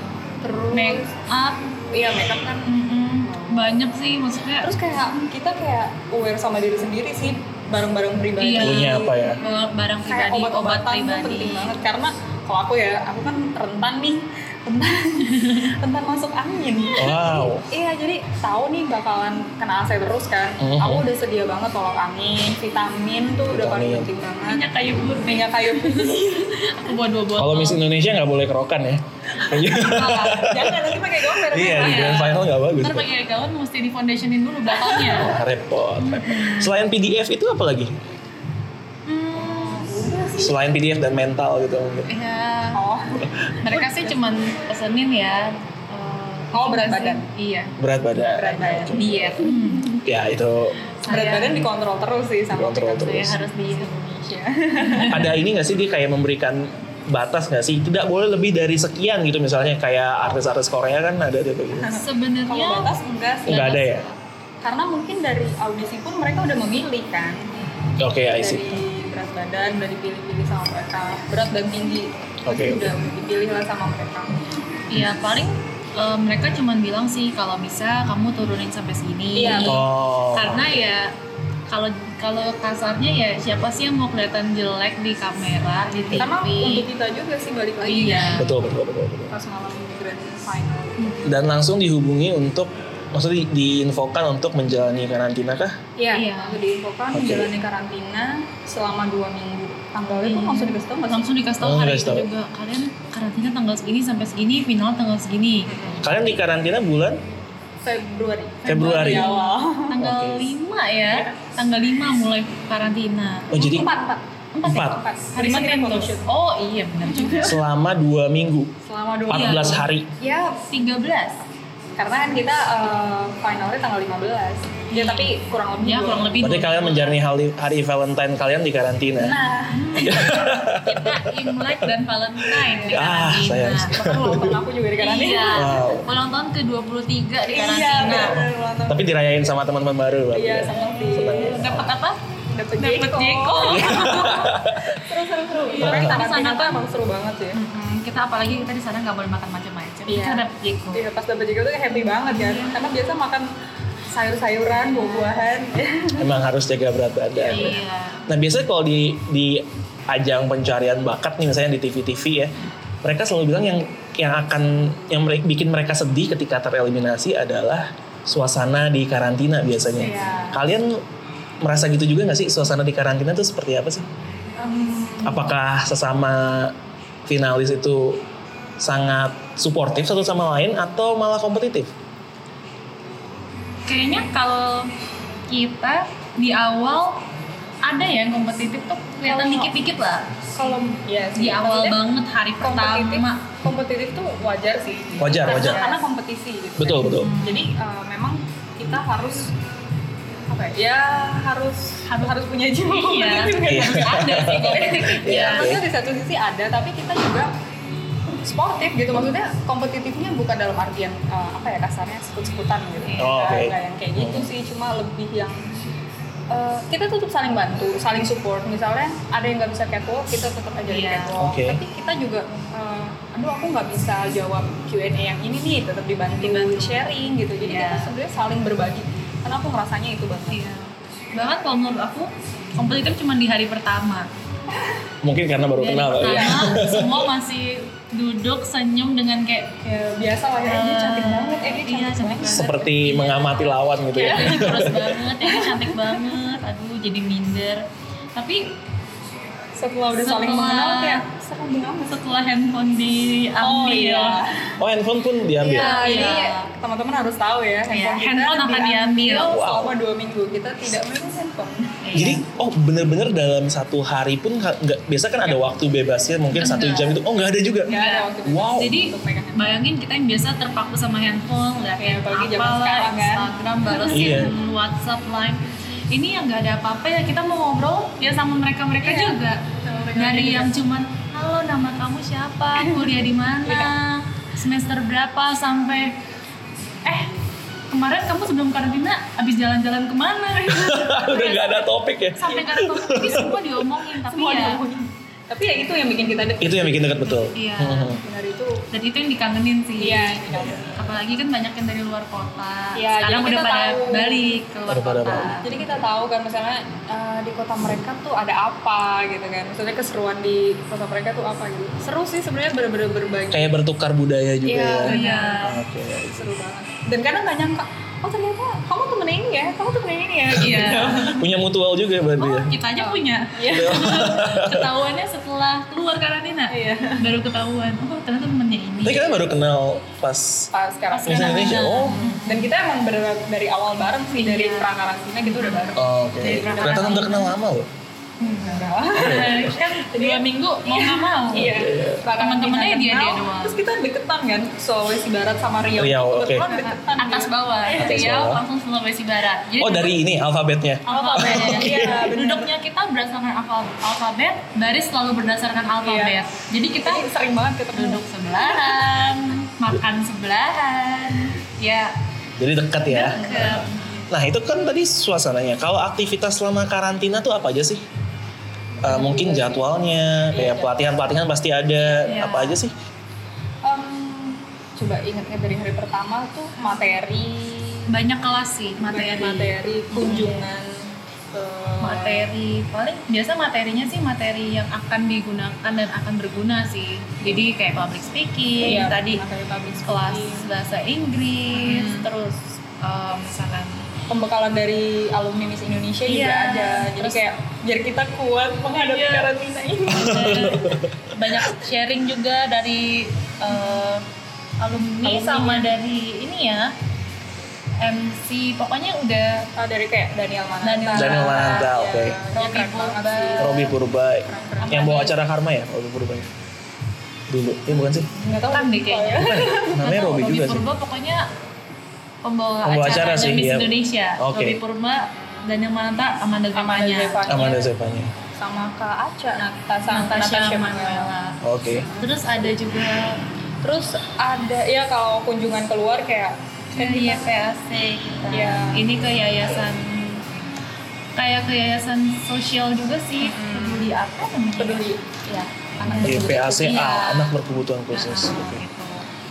[SPEAKER 3] Terus
[SPEAKER 5] Make up,
[SPEAKER 3] iya makeup kan.
[SPEAKER 5] mm-mm, banyak sih maksudnya.
[SPEAKER 3] Terus kayak kita kayak aware sama diri sendiri sih barang-barang pribadi.
[SPEAKER 5] Iya.
[SPEAKER 1] punya apa ya
[SPEAKER 5] eh, barang
[SPEAKER 3] Kayak
[SPEAKER 5] pribadi, obat
[SPEAKER 3] obat-obatan tuh penting
[SPEAKER 5] pribadi.
[SPEAKER 3] banget karena kalau aku ya, aku kan rentan nih. *laughs* Rentan rentan masuk angin.
[SPEAKER 1] wow
[SPEAKER 3] Iya, jadi tahu nih bakalan kena AC terus kan.
[SPEAKER 1] Mhm.
[SPEAKER 3] Aku udah sedia banget tolak angin, vitamin tuh udah paling
[SPEAKER 1] Vitamin.
[SPEAKER 3] penting banget.
[SPEAKER 5] Minyak kayu putih,
[SPEAKER 3] Minyak kayu putih.
[SPEAKER 5] aku buat dua botol.
[SPEAKER 1] kalau Miss Indonesia nggak boleh kerokan ya *laughs*
[SPEAKER 3] Jangan nanti pakai gomber.
[SPEAKER 1] iya di grand final nggak bagus
[SPEAKER 5] Ntar pakai gaun mesti di foundationin dulu belakangnya.
[SPEAKER 1] Wah, repot, repot. Selain PDF itu apa lagi? Selain PDF dan mental gitu mungkin.
[SPEAKER 5] Ya,
[SPEAKER 3] Oh,
[SPEAKER 5] mereka sih cuman pesenin ya. eh,
[SPEAKER 3] Oh, berat
[SPEAKER 5] apa sih?
[SPEAKER 3] badan.
[SPEAKER 5] Iya.
[SPEAKER 1] Berat badan.
[SPEAKER 3] berat badan.
[SPEAKER 1] Oke.
[SPEAKER 5] Diet. Hmm.
[SPEAKER 1] Ya itu
[SPEAKER 3] Berat
[SPEAKER 5] Saya-
[SPEAKER 3] badan dikontrol terus sih sama
[SPEAKER 1] Dikontrol
[SPEAKER 3] pikiran
[SPEAKER 5] Saya
[SPEAKER 1] terus.
[SPEAKER 3] *laughs*
[SPEAKER 5] harus diet.
[SPEAKER 3] Indonesia.
[SPEAKER 1] ada ini nggak sih dia kayak memberikan batas nggak sih? Tidak boleh lebih dari sekian gitu misalnya kayak artis-artis Korea kan ada tuh kayak gitu.
[SPEAKER 3] Kalau
[SPEAKER 5] Sebenarnya
[SPEAKER 3] batas enggak sih.
[SPEAKER 1] Nggak ada ya?
[SPEAKER 3] Karena mungkin dari audisi pun mereka udah memilih kan.
[SPEAKER 1] Oke, I
[SPEAKER 3] dari
[SPEAKER 1] see.
[SPEAKER 3] berat badan udah dipilih-pilih sama mereka. Berat dan tinggi.
[SPEAKER 1] Oke,
[SPEAKER 3] Pasti udah dipilih lah sama mereka.
[SPEAKER 5] Iya paling eh, mereka cuman bilang sih kalau bisa kamu turunin sampai segini.
[SPEAKER 3] Iya.
[SPEAKER 1] Oh.
[SPEAKER 5] Karena ya kalau kalau kasarnya ya siapa sih yang mau kelihatan jelek di kamera di TV?
[SPEAKER 3] Iya. Karena untuk kita juga sih balik lagi.
[SPEAKER 5] iya.
[SPEAKER 1] Betul, betul, betul, betul.
[SPEAKER 3] Pas malam grand final.
[SPEAKER 1] Dan langsung dihubungi untuk maksudnya di- diinfokan untuk menjalani karantina kah?
[SPEAKER 3] Iya,
[SPEAKER 5] Iya.
[SPEAKER 3] aku diinfokan
[SPEAKER 1] Oke.
[SPEAKER 3] menjalani karantina selama dua minggu. Tanggalnya pun
[SPEAKER 5] Iya.
[SPEAKER 3] langsung dikasih tau nggak sih?
[SPEAKER 5] Langsung dikasih tahu
[SPEAKER 1] Langsung
[SPEAKER 5] hari
[SPEAKER 1] Oh, dikasih
[SPEAKER 5] itu
[SPEAKER 1] tahu.
[SPEAKER 5] juga kalian karantina tanggal segini sampai segini final tanggal segini.
[SPEAKER 1] Kalian di karantina bulan
[SPEAKER 3] Februari.
[SPEAKER 1] Februari.
[SPEAKER 3] Di awal.
[SPEAKER 5] Tanggal
[SPEAKER 1] Oke.
[SPEAKER 5] 5
[SPEAKER 3] Iya.
[SPEAKER 5] ya. Tanggal 5 mulai karantina.
[SPEAKER 1] Oh jadi
[SPEAKER 3] empat empat ya?
[SPEAKER 1] Empat.
[SPEAKER 3] empat. ya?
[SPEAKER 5] Hari
[SPEAKER 3] Lima
[SPEAKER 5] Senin
[SPEAKER 3] kita
[SPEAKER 5] tuh.
[SPEAKER 3] photoshoot.
[SPEAKER 5] Oh iya benar juga.
[SPEAKER 1] selama dua minggu,
[SPEAKER 3] Selama dua
[SPEAKER 1] 14 hari.
[SPEAKER 3] Ya,
[SPEAKER 5] 13.
[SPEAKER 3] karena kan kita eh, finalnya tanggal 15. Ya,
[SPEAKER 5] Iya.
[SPEAKER 3] tapi kurang lebih.
[SPEAKER 5] Ya
[SPEAKER 3] dua.
[SPEAKER 5] kurang lebih.
[SPEAKER 1] Berarti
[SPEAKER 5] dua-
[SPEAKER 1] kalian menjalani hari, hari Valentine kalian di karantina.
[SPEAKER 3] Nah,
[SPEAKER 5] kita Imlek dan Valentine di
[SPEAKER 1] Ah,
[SPEAKER 5] karantina.
[SPEAKER 1] sayang
[SPEAKER 3] bahkan ulang tahun aku juga di karantina.
[SPEAKER 5] Iya.
[SPEAKER 1] Wow.
[SPEAKER 5] Ulang tahun ke-23 di
[SPEAKER 3] Iya,
[SPEAKER 5] karantina.
[SPEAKER 3] bener, ulang tahun.
[SPEAKER 1] Tapi dirayain sama teman-teman baru. berarti
[SPEAKER 3] Iya,
[SPEAKER 1] ya?
[SPEAKER 3] seneng sih.
[SPEAKER 1] Seneng ya?
[SPEAKER 5] Dapat apa?
[SPEAKER 3] Dapet
[SPEAKER 5] Dapat
[SPEAKER 3] Jeko.
[SPEAKER 5] Jeko.
[SPEAKER 3] Seru, seru, seru. Iya,
[SPEAKER 1] Tapi di
[SPEAKER 3] karantina
[SPEAKER 5] sana
[SPEAKER 3] tuh
[SPEAKER 5] kan-
[SPEAKER 3] emang seru banget ya.
[SPEAKER 5] Mm-mm, Hmm, kita apalagi kita di sana nggak boleh makan macam-macam.
[SPEAKER 3] Iya.
[SPEAKER 5] Kita dapat Jeko.
[SPEAKER 3] Iya, pas dapet Jeko tuh kayak happy banget kan. Karena biasa makan sayur-sayuran, buah-buahan. *laughs*
[SPEAKER 1] Emang harus jaga berat badan.
[SPEAKER 5] Iya.
[SPEAKER 1] Nah biasanya kalau di di ajang pencarian bakat nih misalnya di TV-TV ya, mereka selalu bilang yang yang akan yang mere- bikin mereka sedih ketika tereliminasi adalah suasana di karantina biasanya.
[SPEAKER 3] Iya.
[SPEAKER 1] Kalian merasa gitu juga nggak sih suasana di karantina itu seperti apa sih?
[SPEAKER 3] Em,
[SPEAKER 1] Apakah sesama finalis itu sangat suportif satu sama lain atau malah kompetitif?
[SPEAKER 5] Kayaknya kalau kita di awal ada ya yang kompetitif tuh kelihatan
[SPEAKER 3] Kalau-
[SPEAKER 5] dikit-dikit lah
[SPEAKER 3] Kalau ya sih,
[SPEAKER 5] di
[SPEAKER 3] Iya.
[SPEAKER 5] awal
[SPEAKER 3] maksudnya
[SPEAKER 5] banget hari
[SPEAKER 3] kompetitif,
[SPEAKER 5] pertama
[SPEAKER 3] kompetitif tuh wajar sih.
[SPEAKER 1] Wajar,
[SPEAKER 3] Karena-
[SPEAKER 1] wajar.
[SPEAKER 3] Karena kompetisi gitu.
[SPEAKER 1] Betul, betul.
[SPEAKER 3] Jadi eh, memang kita harus apa ya? ya, harus harus harus punya jiwa
[SPEAKER 5] Iya.
[SPEAKER 3] kompetitif kan?
[SPEAKER 1] Iya.
[SPEAKER 5] ada sih kompetitif
[SPEAKER 3] Iya,
[SPEAKER 1] Iya.
[SPEAKER 3] maksudnya di satu sisi ada, tapi kita juga sportif gitu. Maksudnya kompetitifnya bukan dalam artian eh, apa ya kasarnya sekut-sekutan gitu.
[SPEAKER 1] Oh,
[SPEAKER 3] Nggak-
[SPEAKER 1] oke. Hmm.
[SPEAKER 3] nggak yang kayak gitu sih, cuma lebih yang eh, kita tetap saling bantu, saling support. Misalnya ada yang nggak bisa catwalk, kita tetap ajarin
[SPEAKER 5] Iya.
[SPEAKER 3] catwalk.
[SPEAKER 1] Oke.
[SPEAKER 3] Tapi kita juga, eh, aduh aku nggak bisa jawab Q&A yang ini nih, tetap dibantu,
[SPEAKER 5] Dibantu.
[SPEAKER 3] sharing gitu. Jadi kita
[SPEAKER 5] Iya.
[SPEAKER 3] sebenarnya saling berbagi. Karena aku ngerasanya itu banget.
[SPEAKER 5] Iya. bahkan kalau menurut aku kompetitif cuma di hari pertama
[SPEAKER 1] Mungkin karena baru
[SPEAKER 5] Di hari
[SPEAKER 1] kenal kali ya.
[SPEAKER 5] pertama semua masih duduk senyum dengan kayak
[SPEAKER 3] Ya, biasa lah ya, ini cantik banget, eh, ini
[SPEAKER 5] Iya,
[SPEAKER 3] cantik
[SPEAKER 5] cantik
[SPEAKER 3] banget.
[SPEAKER 5] banget.
[SPEAKER 1] Seperti
[SPEAKER 5] Iya.
[SPEAKER 1] mengamati lawan gitu ya.
[SPEAKER 5] Ini kurus banget, ini cantik banget, aduh jadi minder. Tapi
[SPEAKER 3] setelah udah saling
[SPEAKER 5] Setelah-
[SPEAKER 3] mengenal kayak seru banget
[SPEAKER 5] setelah handphone
[SPEAKER 3] Oh,
[SPEAKER 5] diambil,
[SPEAKER 1] Oh handphone pun diambil.
[SPEAKER 3] Iya,
[SPEAKER 5] Iya.
[SPEAKER 3] ini teman-teman harus tahu ya
[SPEAKER 5] Iya,
[SPEAKER 3] handphone, kita
[SPEAKER 5] handphone akan diambil.
[SPEAKER 3] selama dua minggu kita tidak main handphone.
[SPEAKER 5] Iya.
[SPEAKER 1] Jadi oh bener-bener dalam satu hari pun ha- nggak biasa kan
[SPEAKER 5] Iya.
[SPEAKER 1] ada waktu bebasnya mungkin satu
[SPEAKER 5] Enggak.
[SPEAKER 1] jam itu oh nggak ada juga.
[SPEAKER 5] Iya.
[SPEAKER 3] Nggak ada waktu
[SPEAKER 1] Wow.
[SPEAKER 5] Jadi
[SPEAKER 3] untuk pegang handphone.
[SPEAKER 5] bayangin kita yang biasa terpaku sama handphone,
[SPEAKER 3] Iya,
[SPEAKER 5] liatin
[SPEAKER 3] apalagi zaman
[SPEAKER 5] apalah,
[SPEAKER 3] sekarang kan.
[SPEAKER 5] Instagram, balesin,
[SPEAKER 1] Iya.
[SPEAKER 5] WhatsApp, Line. Ini yang nggak ada apa-apa ya kita mau ngobrol ya sama mereka-mereka
[SPEAKER 3] Iya.
[SPEAKER 5] juga.
[SPEAKER 3] Sama mereka
[SPEAKER 5] Dari
[SPEAKER 3] juga.
[SPEAKER 5] yang cuman halo nama kamu siapa, kuliah di
[SPEAKER 3] Iya.
[SPEAKER 5] mana, semester berapa sampai eh kemarin kamu sebelum karantina habis jalan-jalan
[SPEAKER 3] *laughs*
[SPEAKER 5] kemana?
[SPEAKER 1] *laughs* Udah nggak ada topik ya.
[SPEAKER 5] sampai karena ini semua diomongin tapi
[SPEAKER 3] Semua
[SPEAKER 5] ya
[SPEAKER 3] diomongin. Tapi ya itu yang bikin kita deket.
[SPEAKER 1] Itu yang bikin dekat betul.
[SPEAKER 5] Iya.
[SPEAKER 1] Hmm.
[SPEAKER 3] benar itu.
[SPEAKER 5] dan itu yang dikangenin sih
[SPEAKER 3] Iya, ini kamu.
[SPEAKER 5] apalagi kan banyak yang dari luar kota
[SPEAKER 3] Iya, jadi
[SPEAKER 5] sekarang udah
[SPEAKER 3] kita
[SPEAKER 5] pada
[SPEAKER 3] tahu.
[SPEAKER 5] balik ke
[SPEAKER 1] *laughs*
[SPEAKER 5] luar
[SPEAKER 1] Udah pada
[SPEAKER 5] kota
[SPEAKER 1] balik.
[SPEAKER 3] Jadi kita tahu kan misalnya eh, di kota mereka tuh ada apa gitu kan. Maksudnya keseruan di kota mereka tuh apa gitu. Seru sih sebenarnya bener-bener berbagi.
[SPEAKER 1] Kayak bertukar budaya juga ya.
[SPEAKER 3] Iya,
[SPEAKER 5] iya
[SPEAKER 1] Oke.
[SPEAKER 3] seru banget dan kadang nggak nyangka oh ternyata kamu temen ini ya kamu temen ini ya
[SPEAKER 5] iya
[SPEAKER 1] Punya mutual juga berarti
[SPEAKER 5] oh
[SPEAKER 1] ya.
[SPEAKER 5] kita aja punya
[SPEAKER 3] Iya.
[SPEAKER 5] *laughs* ketahuannya setelah keluar karantina
[SPEAKER 3] Iya.
[SPEAKER 5] baru ketahuan oh ternyata temennya ini
[SPEAKER 1] Tapi kalian baru kenal pas
[SPEAKER 3] pas sekarang
[SPEAKER 1] Miss Indonesia. Oh.
[SPEAKER 3] dan kita emang bener dari awal bareng sih dari
[SPEAKER 5] Iya.
[SPEAKER 3] prakarantina gitu udah bareng
[SPEAKER 1] Oh, Oke.
[SPEAKER 3] Dari pertama
[SPEAKER 1] Ternyata udah kenal lama loh.
[SPEAKER 5] kan dua minggu mau nggak mau
[SPEAKER 3] Iya, Prakarantina
[SPEAKER 5] Temen-temennya dia-
[SPEAKER 3] kenal,
[SPEAKER 5] dia doang.
[SPEAKER 3] Terus kita deketan kan, Sulawesi Barat sama Riau.
[SPEAKER 1] Riau, oke.
[SPEAKER 3] Kebetulan deketan.
[SPEAKER 5] atas
[SPEAKER 3] gitu.
[SPEAKER 5] bawah
[SPEAKER 1] Atas
[SPEAKER 5] Riau
[SPEAKER 1] bawah.
[SPEAKER 5] langsung Sulawesi Barat Jadi
[SPEAKER 1] Oh dari ini alfabetnya.
[SPEAKER 5] alfabet.
[SPEAKER 3] Alfabet. Iya, benar.
[SPEAKER 5] Duduknya kita berdasarkan alfa- alfabet, baris selalu berdasarkan
[SPEAKER 3] Iya.
[SPEAKER 5] alfabet. Jadi kita
[SPEAKER 3] Jadi sering banget ketemu.
[SPEAKER 5] duduk sebelahan, makan sebelahan. Ya,
[SPEAKER 1] Jadi dekat ya.
[SPEAKER 5] ke
[SPEAKER 1] Nah itu kan tadi suasananya. Kalau aktivitas selama karantina tuh apa aja sih? Eh, mungkin jadwalnya, kayak pelatihan-pelatihan pasti ada.
[SPEAKER 5] Iya.
[SPEAKER 1] Apa aja sih?
[SPEAKER 3] Em, coba ingat-ingat dari hari pertama tuh materi,
[SPEAKER 5] banyak kelas sih materi. Iya.
[SPEAKER 3] materi kunjungan eh, ke
[SPEAKER 5] Materi paling biasa materinya sih materi yang akan digunakan dan akan berguna sih. Jadi kayak public speaking
[SPEAKER 3] Iya,
[SPEAKER 5] tadi
[SPEAKER 3] materi public
[SPEAKER 5] kelas
[SPEAKER 3] speaking.
[SPEAKER 5] bahasa Inggris,
[SPEAKER 3] Mhm.
[SPEAKER 5] terus eh, misalkan
[SPEAKER 3] pembekalan dari alumni Miss Indonesia juga
[SPEAKER 5] Iya.
[SPEAKER 3] ada. Jadi
[SPEAKER 5] Terus-
[SPEAKER 3] kayak biar kita kuat menghadapi
[SPEAKER 5] Iya.
[SPEAKER 3] karantina ini.
[SPEAKER 5] banyak sharing juga dari eh, alumni,
[SPEAKER 3] Alumni.
[SPEAKER 5] sama dari ini ya MC pokoknya udah
[SPEAKER 3] Oh, dari kayak Daniel Mananta.
[SPEAKER 5] Daniel
[SPEAKER 1] Daniel Mananta,
[SPEAKER 3] Ya,
[SPEAKER 1] nah, oke.
[SPEAKER 3] dia keren banget sih.
[SPEAKER 1] Robi Purba,
[SPEAKER 3] Keren-keren.
[SPEAKER 1] yang bawa acara Karma ya, Robi Purba ya? Dulu, ya bukan *laughs* sih?
[SPEAKER 3] Nggak tahu
[SPEAKER 5] Bukan deh kayaknya.
[SPEAKER 3] Oh, ya.
[SPEAKER 1] Namanya
[SPEAKER 5] atau
[SPEAKER 1] Robi juga sih.
[SPEAKER 5] Purba pokoknya pembawa,
[SPEAKER 1] Pembawa acara
[SPEAKER 5] acara,
[SPEAKER 1] sih,
[SPEAKER 5] Miss
[SPEAKER 1] iya.
[SPEAKER 5] Indonesia
[SPEAKER 1] Oke.
[SPEAKER 5] Robi Purba Daniel Mananta
[SPEAKER 3] Amanda
[SPEAKER 5] Amanda Gemanya
[SPEAKER 3] Devanya.
[SPEAKER 1] Amanda Zepanya.
[SPEAKER 3] Sama Kak Aca, Natasha,
[SPEAKER 5] Natasha
[SPEAKER 3] Natasha Manuela.
[SPEAKER 5] Manuela
[SPEAKER 1] Oke.
[SPEAKER 5] terus ada juga
[SPEAKER 3] Terus ada ya kalau kunjungan keluar kayak
[SPEAKER 5] ke YPAC kita.
[SPEAKER 3] Iya.
[SPEAKER 5] Ini ke yayasan kayak ke yayasan sosial juga sih. Peduli apa namanya?
[SPEAKER 3] peduli.
[SPEAKER 5] Ya,
[SPEAKER 1] YPACA,
[SPEAKER 5] Iya.
[SPEAKER 1] anak berkebutuhan khusus.
[SPEAKER 5] Nah,
[SPEAKER 1] Oke.
[SPEAKER 5] gitu.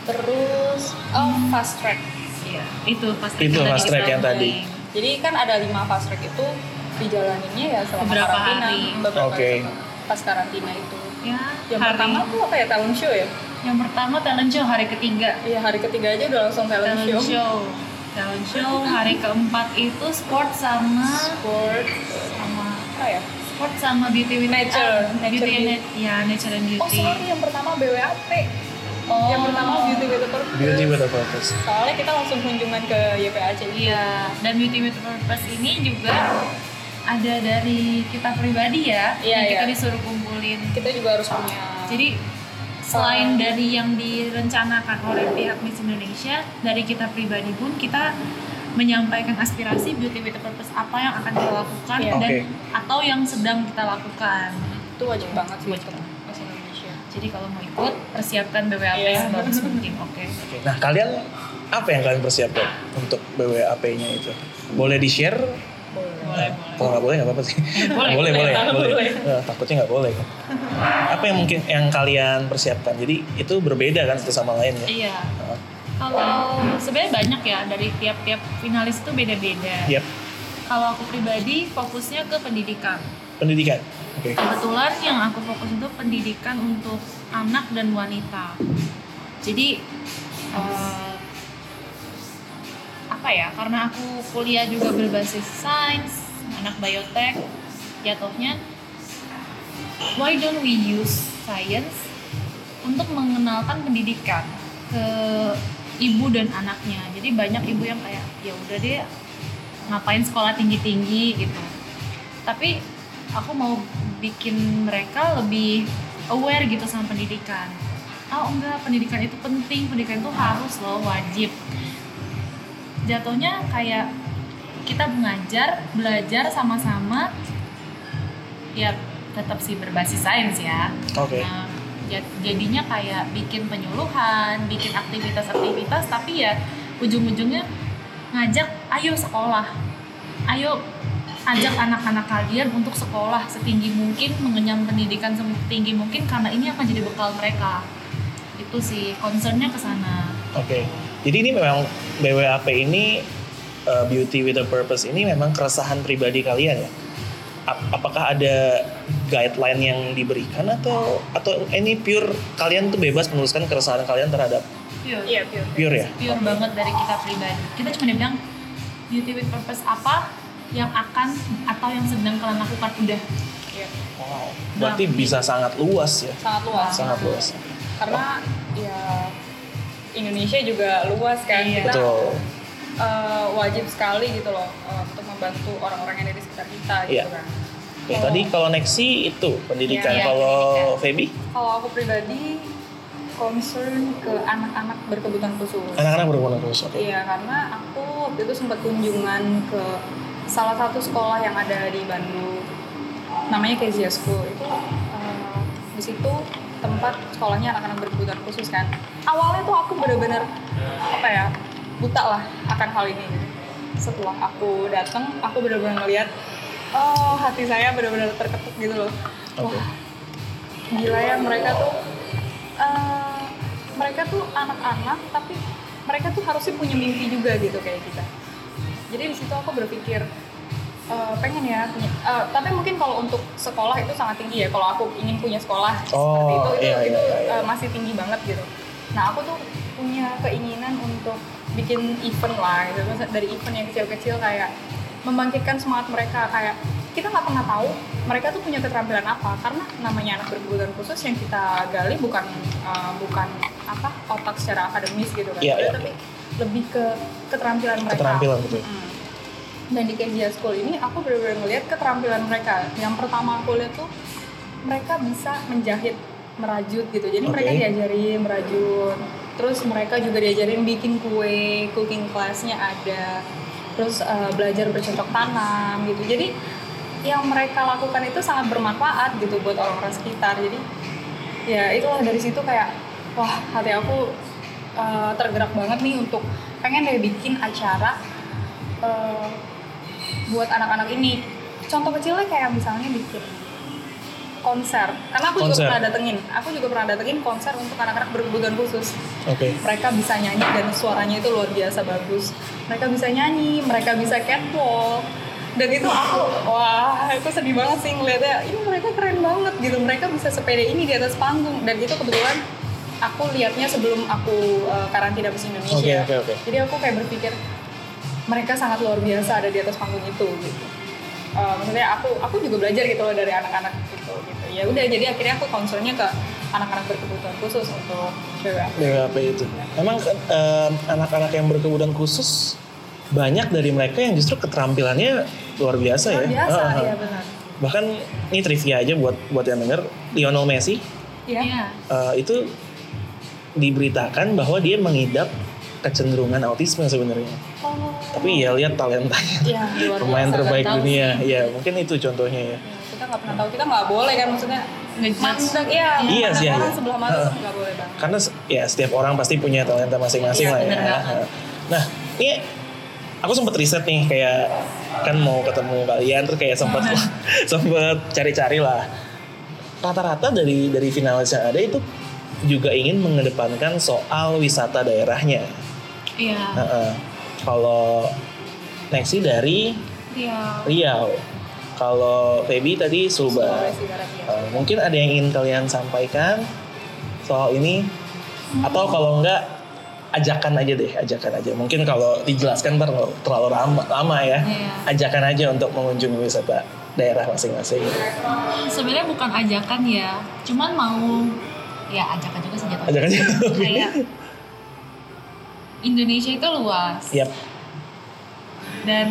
[SPEAKER 3] Terus oh, fast track.
[SPEAKER 5] Iya, itu fast
[SPEAKER 1] Itu
[SPEAKER 5] yang
[SPEAKER 1] fast track
[SPEAKER 5] kita
[SPEAKER 1] yang tadi.
[SPEAKER 5] omongin.
[SPEAKER 3] Jadi kan ada lima fast track itu dijalaninnya ya selama
[SPEAKER 5] Beberapa
[SPEAKER 3] karantina.
[SPEAKER 5] hari.
[SPEAKER 3] Beberapa
[SPEAKER 1] Oke.
[SPEAKER 3] hari pas karantina itu.
[SPEAKER 5] Ya,
[SPEAKER 3] Yang
[SPEAKER 5] hari
[SPEAKER 3] pertama tuh apa ya talent show ya?
[SPEAKER 5] yang pertama talent show hari ketiga.
[SPEAKER 3] Iya hari ketiga aja udah langsung talent,
[SPEAKER 5] Talent
[SPEAKER 3] show.
[SPEAKER 5] show. Talent show hari keempat itu sport sama
[SPEAKER 3] Sport
[SPEAKER 5] sama
[SPEAKER 3] apa ya?
[SPEAKER 5] sport sama beauty with
[SPEAKER 3] Nature.
[SPEAKER 5] ah, beauty
[SPEAKER 3] Nature
[SPEAKER 5] and ya nature and beauty.
[SPEAKER 3] Oh sorry yang pertama BWAP.
[SPEAKER 5] Oh.
[SPEAKER 3] Yang pertama beauty with a purpose.
[SPEAKER 1] Beauty with a Purpose.
[SPEAKER 3] Soalnya kita langsung kunjungan ke YPAC.
[SPEAKER 5] Iya, dan Beauty with Purpose ini juga
[SPEAKER 2] ada dari kita pribadi ya
[SPEAKER 3] Iya,
[SPEAKER 2] yang kita
[SPEAKER 3] iya.
[SPEAKER 2] disuruh kumpulin
[SPEAKER 3] Kita juga harus punya.
[SPEAKER 2] jadi selain dari yang direncanakan oleh pihak Miss Indonesia dari kita pribadi pun kita menyampaikan aspirasi beauty with a purpose apa yang akan kita lakukan
[SPEAKER 3] Iya.
[SPEAKER 2] dan
[SPEAKER 1] Oke.
[SPEAKER 2] atau yang sedang kita lakukan
[SPEAKER 3] itu wajib banget sih
[SPEAKER 2] Wajib.
[SPEAKER 3] untuk bahasa Indonesia.
[SPEAKER 2] jadi kalau mau ikut persiapkan BWAP
[SPEAKER 3] Iya.
[SPEAKER 2] sebagus mungkin oke
[SPEAKER 1] Oke, Nah, kalian apa yang kalian persiapkan untuk BWAP-nya itu? Boleh di-share?
[SPEAKER 2] boleh
[SPEAKER 1] Kalau nggak boleh nggak apa-apa sih.
[SPEAKER 5] Boleh,
[SPEAKER 1] boleh, boleh,
[SPEAKER 5] boleh,
[SPEAKER 1] boleh.
[SPEAKER 5] boleh.
[SPEAKER 1] Eh, takutnya nggak boleh. kan. Apa yang mungkin yang kalian persiapkan? Jadi itu berbeda kan satu sama lain ya?
[SPEAKER 5] Iya.
[SPEAKER 1] Heeh.
[SPEAKER 5] Kalau sebenarnya banyak ya dari tiap-tiap finalis itu beda-beda.
[SPEAKER 1] Yap.
[SPEAKER 5] Kalau aku pribadi fokusnya ke pendidikan.
[SPEAKER 1] Pendidikan. Oke.
[SPEAKER 5] Kebetulan yang aku fokus itu pendidikan untuk anak dan wanita. Jadi eh, apa ya? Karena aku kuliah juga berbasis sains, anak biotek, jatuhnya why don't we use science untuk mengenalkan pendidikan ke ibu dan anaknya. Jadi banyak ibu yang kayak ya udah deh ngapain sekolah tinggi-tinggi gitu. Tapi aku mau bikin mereka lebih aware gitu sama pendidikan. Oh enggak, pendidikan itu penting, pendidikan itu harus loh, wajib. Jatuhnya kayak kita mengajar, belajar sama-sama ya tetap sih berbasis sains ya.
[SPEAKER 1] Oke.
[SPEAKER 5] Nah, jad- jadinya kayak bikin penyuluhan, bikin aktivitas-aktivitas, tapi ya ujung-ujungnya ngajak, ayo sekolah, ayo ajak anak-anak kalian untuk sekolah setinggi mungkin, mengenyam pendidikan setinggi mungkin karena ini akan jadi bekal mereka. Itu sih concernnya ke sana.
[SPEAKER 1] Oke. Jadi ini memang BWAP ini eh, Beauty with a Purpose ini memang keresahan pribadi kalian ya. Ap- apakah ada guideline yang diberikan atau atau ini pure kalian tuh bebas menuliskan keresahan kalian terhadap
[SPEAKER 5] Yuk.
[SPEAKER 3] Iya, pure.
[SPEAKER 1] pure ya?
[SPEAKER 5] pure banget dari kita pribadi. Kita cuma bilang beauty with purpose apa yang akan atau yang sedang kalian lakukan udah.
[SPEAKER 3] Iya.
[SPEAKER 1] Wow. Berarti bisa sangat luas ya.
[SPEAKER 3] Nah. Sangat luas.
[SPEAKER 1] Sangat luas.
[SPEAKER 3] Karena ya Indonesia juga luas kan.
[SPEAKER 5] Iya.
[SPEAKER 3] Kita
[SPEAKER 1] Betul.
[SPEAKER 3] eh, wajib sekali gitu loh eh, untuk membantu orang-orang yang ada di sekitar kita gitu
[SPEAKER 1] Iya.
[SPEAKER 3] kan.
[SPEAKER 1] Oke, tadi kalau Nexi itu pendidikan.
[SPEAKER 3] Iya, iya,
[SPEAKER 1] kalau Feby
[SPEAKER 3] Kalau aku pribadi concern ke anak-anak berkebutuhan khusus.
[SPEAKER 1] anak-anak berhubungan terus. Oke.
[SPEAKER 3] Iya, karena aku waktu itu sempat kunjungan ke salah satu sekolah yang ada di Bandung. Namanya Kezia School. Itu eh, di situ tempat sekolahnya anak-anak berkebutuhan khusus kan. Awalnya tuh aku bener-bener apa ya? buta lah akan hal ini gitu. Setelah aku datang, aku bener-bener ngeliat oh, hati saya bener-bener terketuk gitu loh.
[SPEAKER 1] Oke.
[SPEAKER 3] Wah, gila ya mereka tuh eh, mereka tuh anak-anak tapi mereka tuh harusnya punya mimpi juga gitu kayak kita jadi di situ aku berpikir eh, pengen ya punya eh, tapi mungkin kalau untuk sekolah itu sangat tinggi ya kalau aku ingin punya sekolah seperti
[SPEAKER 1] Oh,
[SPEAKER 3] itu itu,
[SPEAKER 1] iya,
[SPEAKER 3] itu,
[SPEAKER 1] iya, iya.
[SPEAKER 3] eh, masih tinggi banget gitu nah aku tuh punya keinginan untuk bikin event lah gitu. Maksudnya dari event yang kecil-kecil kayak membangkitkan semangat mereka kayak kita nggak pernah tahu mereka tuh punya keterampilan apa karena namanya anak berkebutuhan khusus yang kita gali bukan eh, bukan apa otak secara akademis gitu kan
[SPEAKER 1] Iya, iya.
[SPEAKER 3] tapi lebih ke keterampilan mereka
[SPEAKER 1] Keterampilan betul.
[SPEAKER 3] Mm. Dan di Kezia School ini aku benar-benar ngeliat keterampilan mereka. Yang pertama aku lihat tuh mereka bisa menjahit, merajut gitu. Jadi mereka
[SPEAKER 1] Oke.
[SPEAKER 3] diajarin merajut. Terus mereka juga diajarin bikin kue, cooking class-nya ada. Terus eh, belajar bercocok tanam gitu. Jadi yang mereka lakukan itu sangat bermanfaat gitu buat orang-orang sekitar. Jadi ya itulah dari situ kayak wah hati aku eh, tergerak banget nih untuk pengen deh bikin acara eh, buat anak-anak ini. Contoh kecilnya kayak misalnya bikin konser. Karena aku
[SPEAKER 1] Konser.
[SPEAKER 3] juga pernah datengin, aku juga pernah datengin konser untuk anak-anak berkebutuhan khusus.
[SPEAKER 1] Oke.
[SPEAKER 3] Mereka bisa nyanyi dan suaranya itu luar biasa bagus. Mereka bisa nyanyi, mereka bisa catwalk. Dan itu aku, wah, aku sedih banget sih ngeliatnya. Ini mereka keren banget gitu. Mereka bisa sepede ini di atas panggung. Dan itu kebetulan aku liatnya sebelum aku eh, karantina di Indonesia.
[SPEAKER 1] Oke, oke, oke.
[SPEAKER 3] Jadi aku kayak berpikir mereka sangat luar biasa ada di atas panggung itu gitu. Eh, maksudnya aku aku juga belajar gitu loh dari anak-anak gitu gitu. Ya udah jadi akhirnya aku concernnya ke anak-anak berkebutuhan khusus untuk cewek.
[SPEAKER 1] BWAP itu. Memang eh, anak-anak yang berkebutuhan khusus banyak dari mereka yang justru keterampilannya luar biasa ya.
[SPEAKER 3] Luar biasa,
[SPEAKER 1] Ah, ah,
[SPEAKER 3] iya
[SPEAKER 1] ah.
[SPEAKER 3] benar.
[SPEAKER 1] Bahkan ini trivia aja buat buat yang denger, Lionel Messi
[SPEAKER 3] Iya.
[SPEAKER 5] Iya.
[SPEAKER 1] eh, itu diberitakan bahwa dia mengidap kecenderungan autisme sebenarnya.
[SPEAKER 3] Oh.
[SPEAKER 1] Tapi ya lihat talentanya.
[SPEAKER 3] Iya, luar
[SPEAKER 1] Pemain
[SPEAKER 3] biasa,
[SPEAKER 1] terbaik
[SPEAKER 3] nggak tahu
[SPEAKER 1] dunia. Ya, mungkin itu contohnya ya.
[SPEAKER 3] sih. Kita nggak pernah tahu, kita nggak boleh kan maksudnya.
[SPEAKER 5] Ngejudge.
[SPEAKER 3] Mandang, iya.
[SPEAKER 1] Iya
[SPEAKER 3] mandang
[SPEAKER 1] sih, iya.
[SPEAKER 3] Orang sebelah mata
[SPEAKER 1] Heeh.
[SPEAKER 3] tuh nggak boleh banget.
[SPEAKER 1] Karena se- ya setiap orang pasti punya talenta masing-masing
[SPEAKER 5] Iya,
[SPEAKER 1] lah
[SPEAKER 5] bener
[SPEAKER 1] ya.
[SPEAKER 5] banget.
[SPEAKER 1] Nah, ini aku sempat riset nih kayak kan mau ketemu kalian terus kayak sempat
[SPEAKER 5] Iya.
[SPEAKER 1] *laughs* sempat cari-cari lah. Rata-rata dari dari finalis yang ada itu juga ingin mengedepankan soal wisata daerahnya.
[SPEAKER 5] Iya.
[SPEAKER 1] Heeh. Kalau Nexi dari
[SPEAKER 5] Iya.
[SPEAKER 1] Riau. Kalau Feby tadi Subang.
[SPEAKER 3] Sulawesi Barat ya.
[SPEAKER 1] Uh, mungkin ada yang ingin kalian sampaikan soal ini atau kalau enggak ajakan aja deh ajakan aja mungkin kalau dijelaskan ntar nggak terlalu lama, lama ya
[SPEAKER 5] Iya.
[SPEAKER 1] ajakan aja untuk mengunjungi wisata daerah masing-masing
[SPEAKER 5] Hmm, Sebenarnya bukan ajakan ya, cuman mau ya ajakan juga sih jatuhnya.
[SPEAKER 1] ajakan aja
[SPEAKER 5] Kayak Indonesia itu luas.
[SPEAKER 1] Yap.
[SPEAKER 5] dan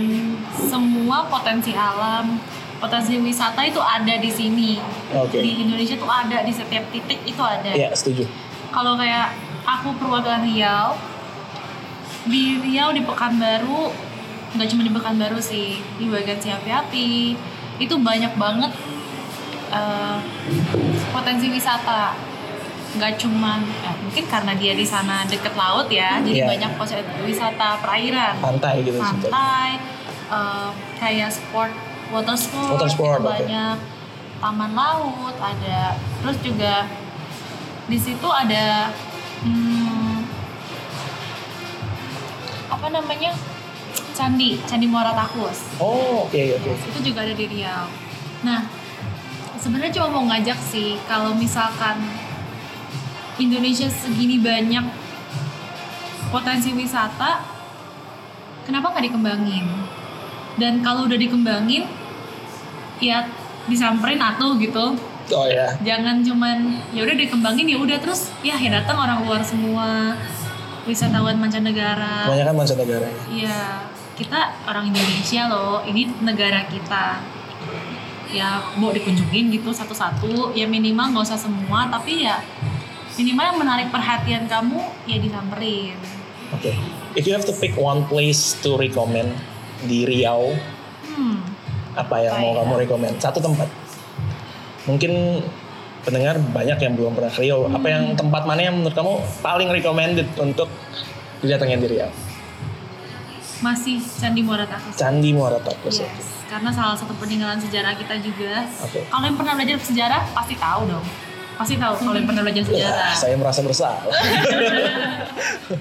[SPEAKER 5] semua potensi alam, potensi wisata itu ada di sini.
[SPEAKER 1] Oke.
[SPEAKER 5] Di Indonesia tuh ada di setiap titik itu ada.
[SPEAKER 1] ya setuju
[SPEAKER 5] Kalau kayak aku perwakilan Riau, di Riau di Pekanbaru, nggak cuma di Pekanbaru sih, di bagian Siapi Api, itu banyak banget eh, potensi wisata. Nggak cuma, eh, mungkin karena dia di sana deket laut ya,
[SPEAKER 1] Iya.
[SPEAKER 5] jadi banyak potensi wisata perairan
[SPEAKER 1] pantai gitu sebentar.
[SPEAKER 5] pantai, eh, kayak sport water sport,
[SPEAKER 1] Water sport,
[SPEAKER 5] itu
[SPEAKER 1] oke.
[SPEAKER 5] banyak taman laut ada terus juga di situ ada hmm, apa namanya candi candi Muara Takus
[SPEAKER 1] oh oke oke
[SPEAKER 5] itu juga ada di Riau. Nah, sebenarnya cuma mau ngajak sih kalau misalkan Indonesia segini banyak potensi wisata, kenapa nggak dikembangin? Dan kalau udah dikembangin, ya disamperin atuh gitu.
[SPEAKER 1] oh ya
[SPEAKER 5] Jangan cuman ya udah dikembangin ya udah terus ya yang datang orang luar semua wisatawan mancanegara.
[SPEAKER 1] kebanyakan mancanegara ya.
[SPEAKER 5] Iya, kita orang Indonesia loh. Ini negara kita. Ya mau dikunjungin gitu satu-satu. Ya minimal nggak usah semua, tapi ya minimal yang menarik perhatian kamu ya disamperin.
[SPEAKER 1] oke if you have to pick one place to recommend di Riau
[SPEAKER 5] Hmm,
[SPEAKER 1] apa yang
[SPEAKER 5] Apa
[SPEAKER 1] mau
[SPEAKER 5] ya?
[SPEAKER 1] kamu rekomend satu tempat mungkin pendengar banyak yang belum pernah ke Riau
[SPEAKER 3] Hmm.
[SPEAKER 1] apa yang tempat mana yang menurut kamu paling recommended untuk didatangin di Riau
[SPEAKER 5] masih Candi Muara Takus.
[SPEAKER 1] Candi Muara Takus
[SPEAKER 5] Yes, karena salah satu peninggalan sejarah kita juga.
[SPEAKER 1] Oke.
[SPEAKER 5] Kalau yang pernah belajar sejarah pasti tahu dong. Pasti tahu kalau yang pernah
[SPEAKER 3] Iya,
[SPEAKER 5] belajar sejarah.
[SPEAKER 1] Wah, Ya, saya merasa
[SPEAKER 3] *laughs*
[SPEAKER 1] bersalah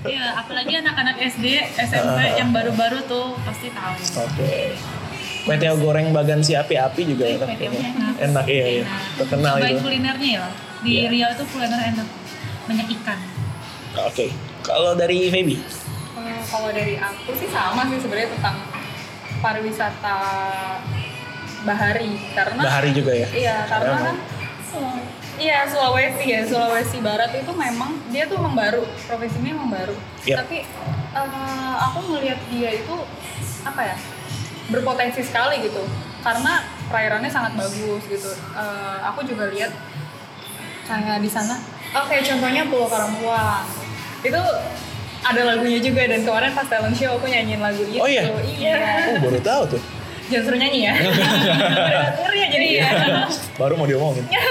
[SPEAKER 5] Iya, apalagi anak-anak SD, SMP yang baru-baru tuh pasti tahu.
[SPEAKER 1] oke Kue teo goreng bagan si api-api juga
[SPEAKER 5] Eh,
[SPEAKER 1] enak
[SPEAKER 5] kue teo
[SPEAKER 1] kayaknya.
[SPEAKER 5] enak.
[SPEAKER 1] enak iya iya
[SPEAKER 5] Nah,
[SPEAKER 1] terkenal
[SPEAKER 5] cobain
[SPEAKER 1] itu oke
[SPEAKER 5] kulinernya ya. Di
[SPEAKER 1] Iya.
[SPEAKER 5] Riau itu kuliner enak. Banyak ikan.
[SPEAKER 1] kalau dari Feby
[SPEAKER 3] Hmm, kalau dari aku sih sama sih sebenarnya tentang pariwisata bahari karena
[SPEAKER 1] Bahari juga ya
[SPEAKER 3] iya karena
[SPEAKER 1] Emang.
[SPEAKER 3] kan Sula- iya Sulawesi ya Sulawesi Barat itu memang dia tuh membaru profesinya membaru
[SPEAKER 1] Yep.
[SPEAKER 3] tapi eh, aku melihat dia itu apa ya berpotensi sekali gitu karena perairannya sangat bagus gitu Eh, aku juga lihat kayak di sana oke contohnya Pulau Karampuang itu ada lagunya juga dan kemarin pas talent show aku nyanyiin lagu itu
[SPEAKER 1] Oh iya?
[SPEAKER 3] iya
[SPEAKER 1] oh baru tahu
[SPEAKER 3] *laughs*
[SPEAKER 1] tuh
[SPEAKER 3] jangan suruh nyanyi
[SPEAKER 1] *laughs*
[SPEAKER 3] ya Udah ngeri ya jadi ya
[SPEAKER 1] baru mau diomongin
[SPEAKER 3] Iya,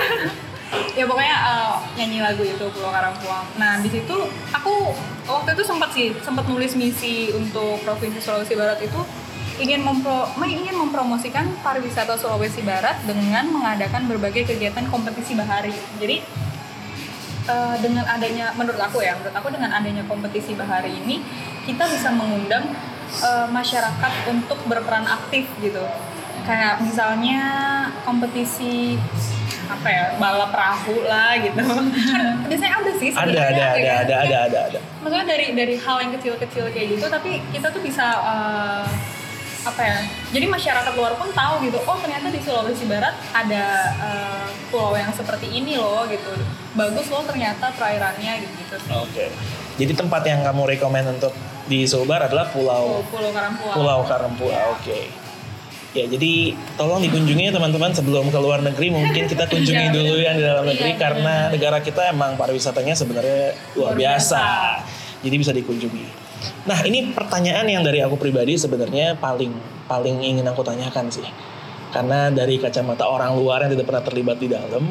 [SPEAKER 3] ya pokoknya eh, nyanyi lagu itu Pulau Karampuang nah di situ aku waktu itu sempat sih sempat nulis misi untuk provinsi Sulawesi Barat itu ingin mempro me- ingin mempromosikan pariwisata Sulawesi Barat dengan mengadakan berbagai kegiatan kompetisi bahari jadi eh, dengan adanya menurut aku ya menurut aku dengan adanya kompetisi bahari ini kita bisa mengundang eh, masyarakat untuk berperan aktif gitu kayak misalnya kompetisi apa ya balap perahu lah
[SPEAKER 1] *laughs*
[SPEAKER 3] gitu kan biasanya ada sih
[SPEAKER 1] ada
[SPEAKER 3] sebenarnya,
[SPEAKER 1] ada
[SPEAKER 3] ya
[SPEAKER 1] ada
[SPEAKER 3] kan?
[SPEAKER 1] ada ada ada ada
[SPEAKER 3] maksudnya dari dari hal yang kecil-kecil kayak gitu tapi kita tuh bisa eh, apa ya jadi masyarakat luar pun tahu gitu oh ternyata di Sulawesi Barat ada eh, pulau yang seperti ini loh gitu bagus loh ternyata perairannya gitu gitu
[SPEAKER 1] Oke. Jadi tempat yang kamu rekomend untuk di Sulbar adalah Pulau
[SPEAKER 3] pulau, pulau Karampuang
[SPEAKER 1] Pulau Karampuang. Oke. Ya, jadi tolong dikunjungi ya, teman-teman sebelum ke luar negeri mungkin kita kunjungi
[SPEAKER 5] Iya,
[SPEAKER 1] dulu yang di dalam
[SPEAKER 5] Iya,
[SPEAKER 1] negeri
[SPEAKER 5] benar.
[SPEAKER 1] karena negara kita emang pariwisatanya sebenarnya luar
[SPEAKER 5] Luar biasa.
[SPEAKER 1] biasa. Jadi bisa dikunjungi. Nah, ini pertanyaan yang dari aku pribadi sebenarnya paling paling ingin aku tanyakan sih. Karena dari kacamata orang luar yang tidak pernah terlibat di dalam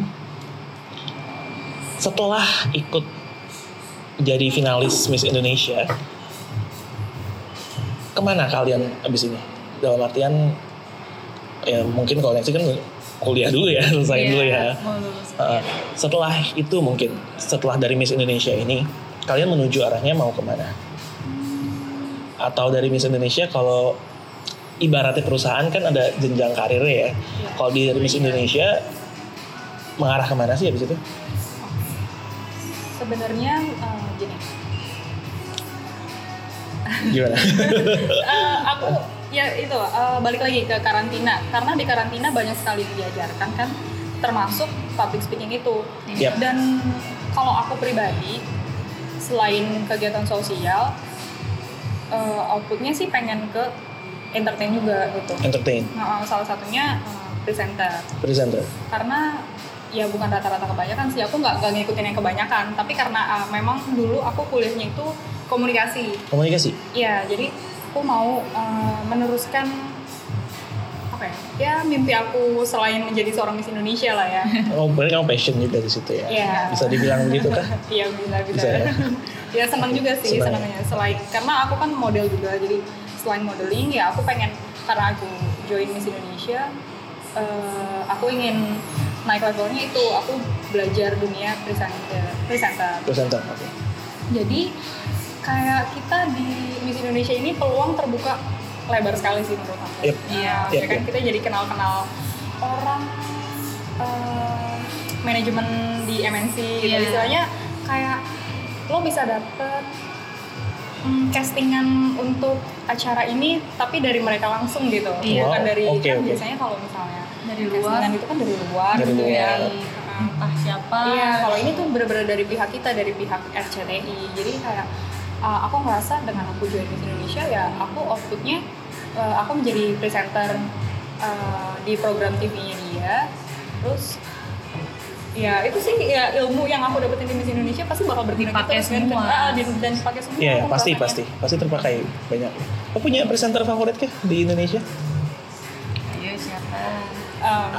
[SPEAKER 1] setelah ikut jadi finalis Miss Indonesia kemana kalian abis ini dalam artian ya mungkin kalau Lexi kan kuliah dulu ya selesai dulu ya
[SPEAKER 5] Iya, Mau lulus
[SPEAKER 1] Uh,
[SPEAKER 5] kuliah.
[SPEAKER 1] setelah itu mungkin setelah dari Miss Indonesia ini kalian menuju arahnya mau kemana atau dari Miss Indonesia kalau ibaratnya perusahaan kan ada jenjang karirnya ya
[SPEAKER 5] Iya.
[SPEAKER 1] kalau di dari Miss Indonesia mengarah kemana sih abis itu
[SPEAKER 3] Sebenarnya eh, gini,
[SPEAKER 5] *laughs*
[SPEAKER 1] gimana
[SPEAKER 3] Eh, aku ya itu eh, balik lagi ke karantina karena di karantina banyak sekali diajarkan kan termasuk public speaking itu
[SPEAKER 1] Yap.
[SPEAKER 3] dan kalau aku pribadi selain kegiatan sosial eh, outputnya sih pengen ke entertain juga gitu
[SPEAKER 1] entertain
[SPEAKER 3] Nah, eh, salah satunya eh, presenter
[SPEAKER 1] presenter
[SPEAKER 3] karena ya bukan rata-rata kebanyakan sih aku nggak nggak ngikutin yang kebanyakan tapi karena eh, memang dulu aku kuliahnya itu komunikasi
[SPEAKER 5] *laughs*
[SPEAKER 1] komunikasi
[SPEAKER 3] Iya, jadi aku mau eh, meneruskan apa ya? Ya mimpi aku selain menjadi seorang Miss Indonesia lah
[SPEAKER 1] *laughs*
[SPEAKER 3] ya.
[SPEAKER 1] oh berarti kamu passion juga di situ ya
[SPEAKER 3] Iya.
[SPEAKER 1] bisa dibilang begitu kah
[SPEAKER 3] Iya bisa bisa.
[SPEAKER 1] Bisa ya?
[SPEAKER 3] *laughs* ya senang juga sih
[SPEAKER 1] Senang ya?
[SPEAKER 3] senangnya selain karena aku kan model juga jadi selain modeling ya aku pengen karena aku join Miss Indonesia eh, aku ingin naik levelnya itu aku belajar dunia presenter presenter
[SPEAKER 1] presenter oke
[SPEAKER 3] jadi kayak kita di Miss Indonesia ini peluang terbuka lebar sekali sih menurut aku.
[SPEAKER 1] Yep.
[SPEAKER 3] Iya,
[SPEAKER 1] Yep,
[SPEAKER 3] ya kan
[SPEAKER 1] yep.
[SPEAKER 3] kita jadi kenal-kenal orang eh, manajemen di MNC gitu.
[SPEAKER 5] Iya.
[SPEAKER 3] Istilahnya kayak lo bisa dapet mm, castingan untuk acara ini tapi dari mereka langsung gitu.
[SPEAKER 5] Iya.
[SPEAKER 3] Bukan
[SPEAKER 1] Wow,
[SPEAKER 3] dari
[SPEAKER 1] oke,
[SPEAKER 3] kan
[SPEAKER 1] oke.
[SPEAKER 3] biasanya kalau misalnya
[SPEAKER 5] Dari luar.
[SPEAKER 3] castingan itu kan dari luar
[SPEAKER 1] Dari
[SPEAKER 3] gitu ya.
[SPEAKER 1] luar.
[SPEAKER 3] Heeh.
[SPEAKER 5] entah siapa
[SPEAKER 3] Iya, kalau ini tuh bener-bener dari pihak kita, dari pihak RCTI. Jadi kayak uh, aku ngerasa dengan aku join Miss Indonesia ya aku outputnya uh, aku menjadi presenter uh, di program TV-nya dia. Terus ya itu sih ya ilmu yang aku dapetin di Miss Indonesia pasti bakal bertindak
[SPEAKER 5] Dipakai
[SPEAKER 3] terus kan.
[SPEAKER 5] semua.
[SPEAKER 3] Ah, dan, dan dipakai semua.
[SPEAKER 1] Iya,
[SPEAKER 3] aku
[SPEAKER 1] pasti
[SPEAKER 3] ngerasanya.
[SPEAKER 1] pasti pasti terpakai banyak Kau punya presenter favorit kah di Indonesia
[SPEAKER 5] Ayo, siapa
[SPEAKER 3] Um,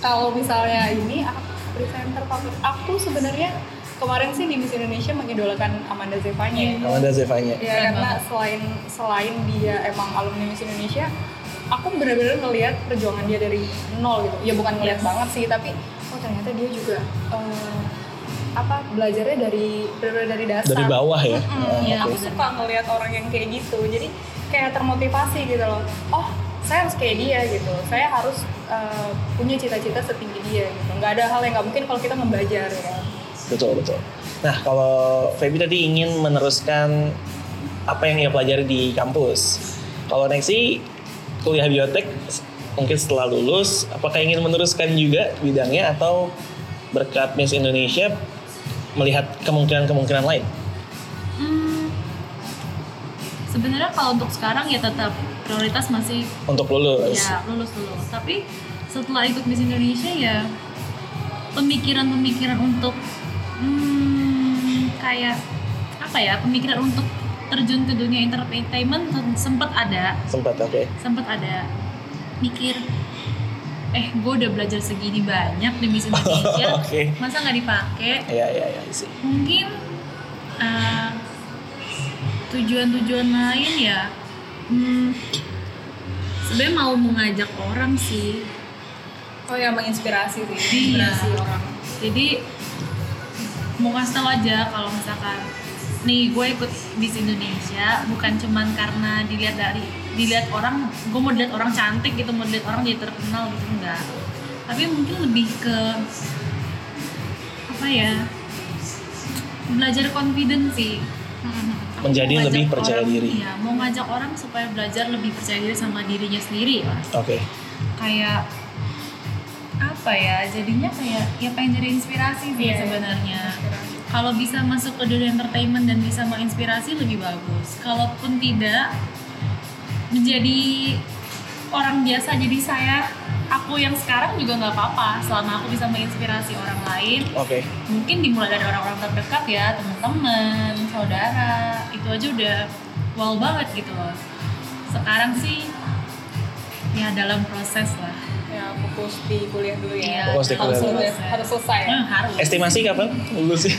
[SPEAKER 3] kalau misalnya ini aku presenter favorit aku sebenarnya kemarin sih di Miss Indonesia mengidolakan Amanda Zevanya.
[SPEAKER 1] Amanda Zevanya
[SPEAKER 3] Ya
[SPEAKER 5] Keren
[SPEAKER 3] karena selain selain dia emang alumni Miss Indonesia, aku benar-benar ngelihat perjuangan dia dari nol gitu. Ya bukan ngelihat banget sih, tapi oh ternyata dia juga eh, apa belajarnya dari benar dari dasar.
[SPEAKER 1] dari bawah ya
[SPEAKER 3] Mm-mm.
[SPEAKER 1] Oh,
[SPEAKER 5] iya.
[SPEAKER 1] oke.
[SPEAKER 3] Aku suka ngelihat orang yang kayak gitu. Jadi kayak termotivasi gitu loh. Oh saya harus kayak dia gitu. Saya harus eh, punya cita-cita setinggi dia gitu. Nggak ada hal yang nggak mungkin kalau kita membajar ya. kan.
[SPEAKER 1] betul betul nah kalau Feby tadi ingin meneruskan apa yang ia pelajari di kampus kalau Nexi kuliah biotek s- mungkin setelah lulus apakah ingin meneruskan juga bidangnya atau berkat Miss Indonesia melihat kemungkinan-kemungkinan lain
[SPEAKER 5] hmm, sebenarnya kalau untuk sekarang ya tetap prioritas masih
[SPEAKER 1] untuk lulus
[SPEAKER 5] ya lulus dulu tapi setelah ikut Miss Indonesia ya pemikiran-pemikiran untuk hmm, kayak apa ya pemikiran untuk terjun ke dunia entertainment sempat ada
[SPEAKER 1] sempat oke
[SPEAKER 5] sempat ada mikir eh gue udah belajar segini banyak di Miss Indonesia
[SPEAKER 1] Oke.
[SPEAKER 5] masa nggak dipakai
[SPEAKER 1] Iya iya iya sih.
[SPEAKER 5] mungkin eh, tujuan-tujuan lain ya hmm, sebenarnya mau mengajak orang sih
[SPEAKER 3] Oh ya menginspirasi sih,
[SPEAKER 5] Iya.
[SPEAKER 3] menginspirasi orang.
[SPEAKER 5] jadi mau kasih tau aja kalau misalkan nih gue ikut Miss Indonesia bukan cuman karena dilihat dari dilihat orang gue mau dilihat orang cantik gitu mau dilihat orang jadi terkenal gitu enggak tapi mungkin lebih ke apa ya belajar confidence sih Aku
[SPEAKER 1] Menjadi
[SPEAKER 5] mau ngajak
[SPEAKER 1] lebih percaya
[SPEAKER 5] orang-
[SPEAKER 1] diri.
[SPEAKER 5] iya mau ngajak orang supaya belajar lebih percaya diri sama dirinya sendiri lah
[SPEAKER 1] Oke.
[SPEAKER 5] kayak apa ya jadinya kayak ya pengen jadi inspirasi sih
[SPEAKER 3] Iya,
[SPEAKER 5] sebenarnya kalau bisa masuk ke dunia entertainment dan bisa menginspirasi lebih bagus kalaupun tidak menjadi orang biasa jadi saya aku yang sekarang juga nggak apa-apa selama aku bisa menginspirasi orang lain
[SPEAKER 1] Oke.
[SPEAKER 5] mungkin dimulai dari orang-orang terdekat ya teman-teman saudara itu aja udah wow banget gitu loh sekarang sih ya dalam proses lah
[SPEAKER 3] ya fokus di kuliah dulu
[SPEAKER 5] Iya,
[SPEAKER 3] ya
[SPEAKER 1] Fokus di
[SPEAKER 3] harus,
[SPEAKER 1] kuliah dulu.
[SPEAKER 3] selesai- harus selesai
[SPEAKER 5] Eh, harus
[SPEAKER 1] Estimasi kapan lulus sih?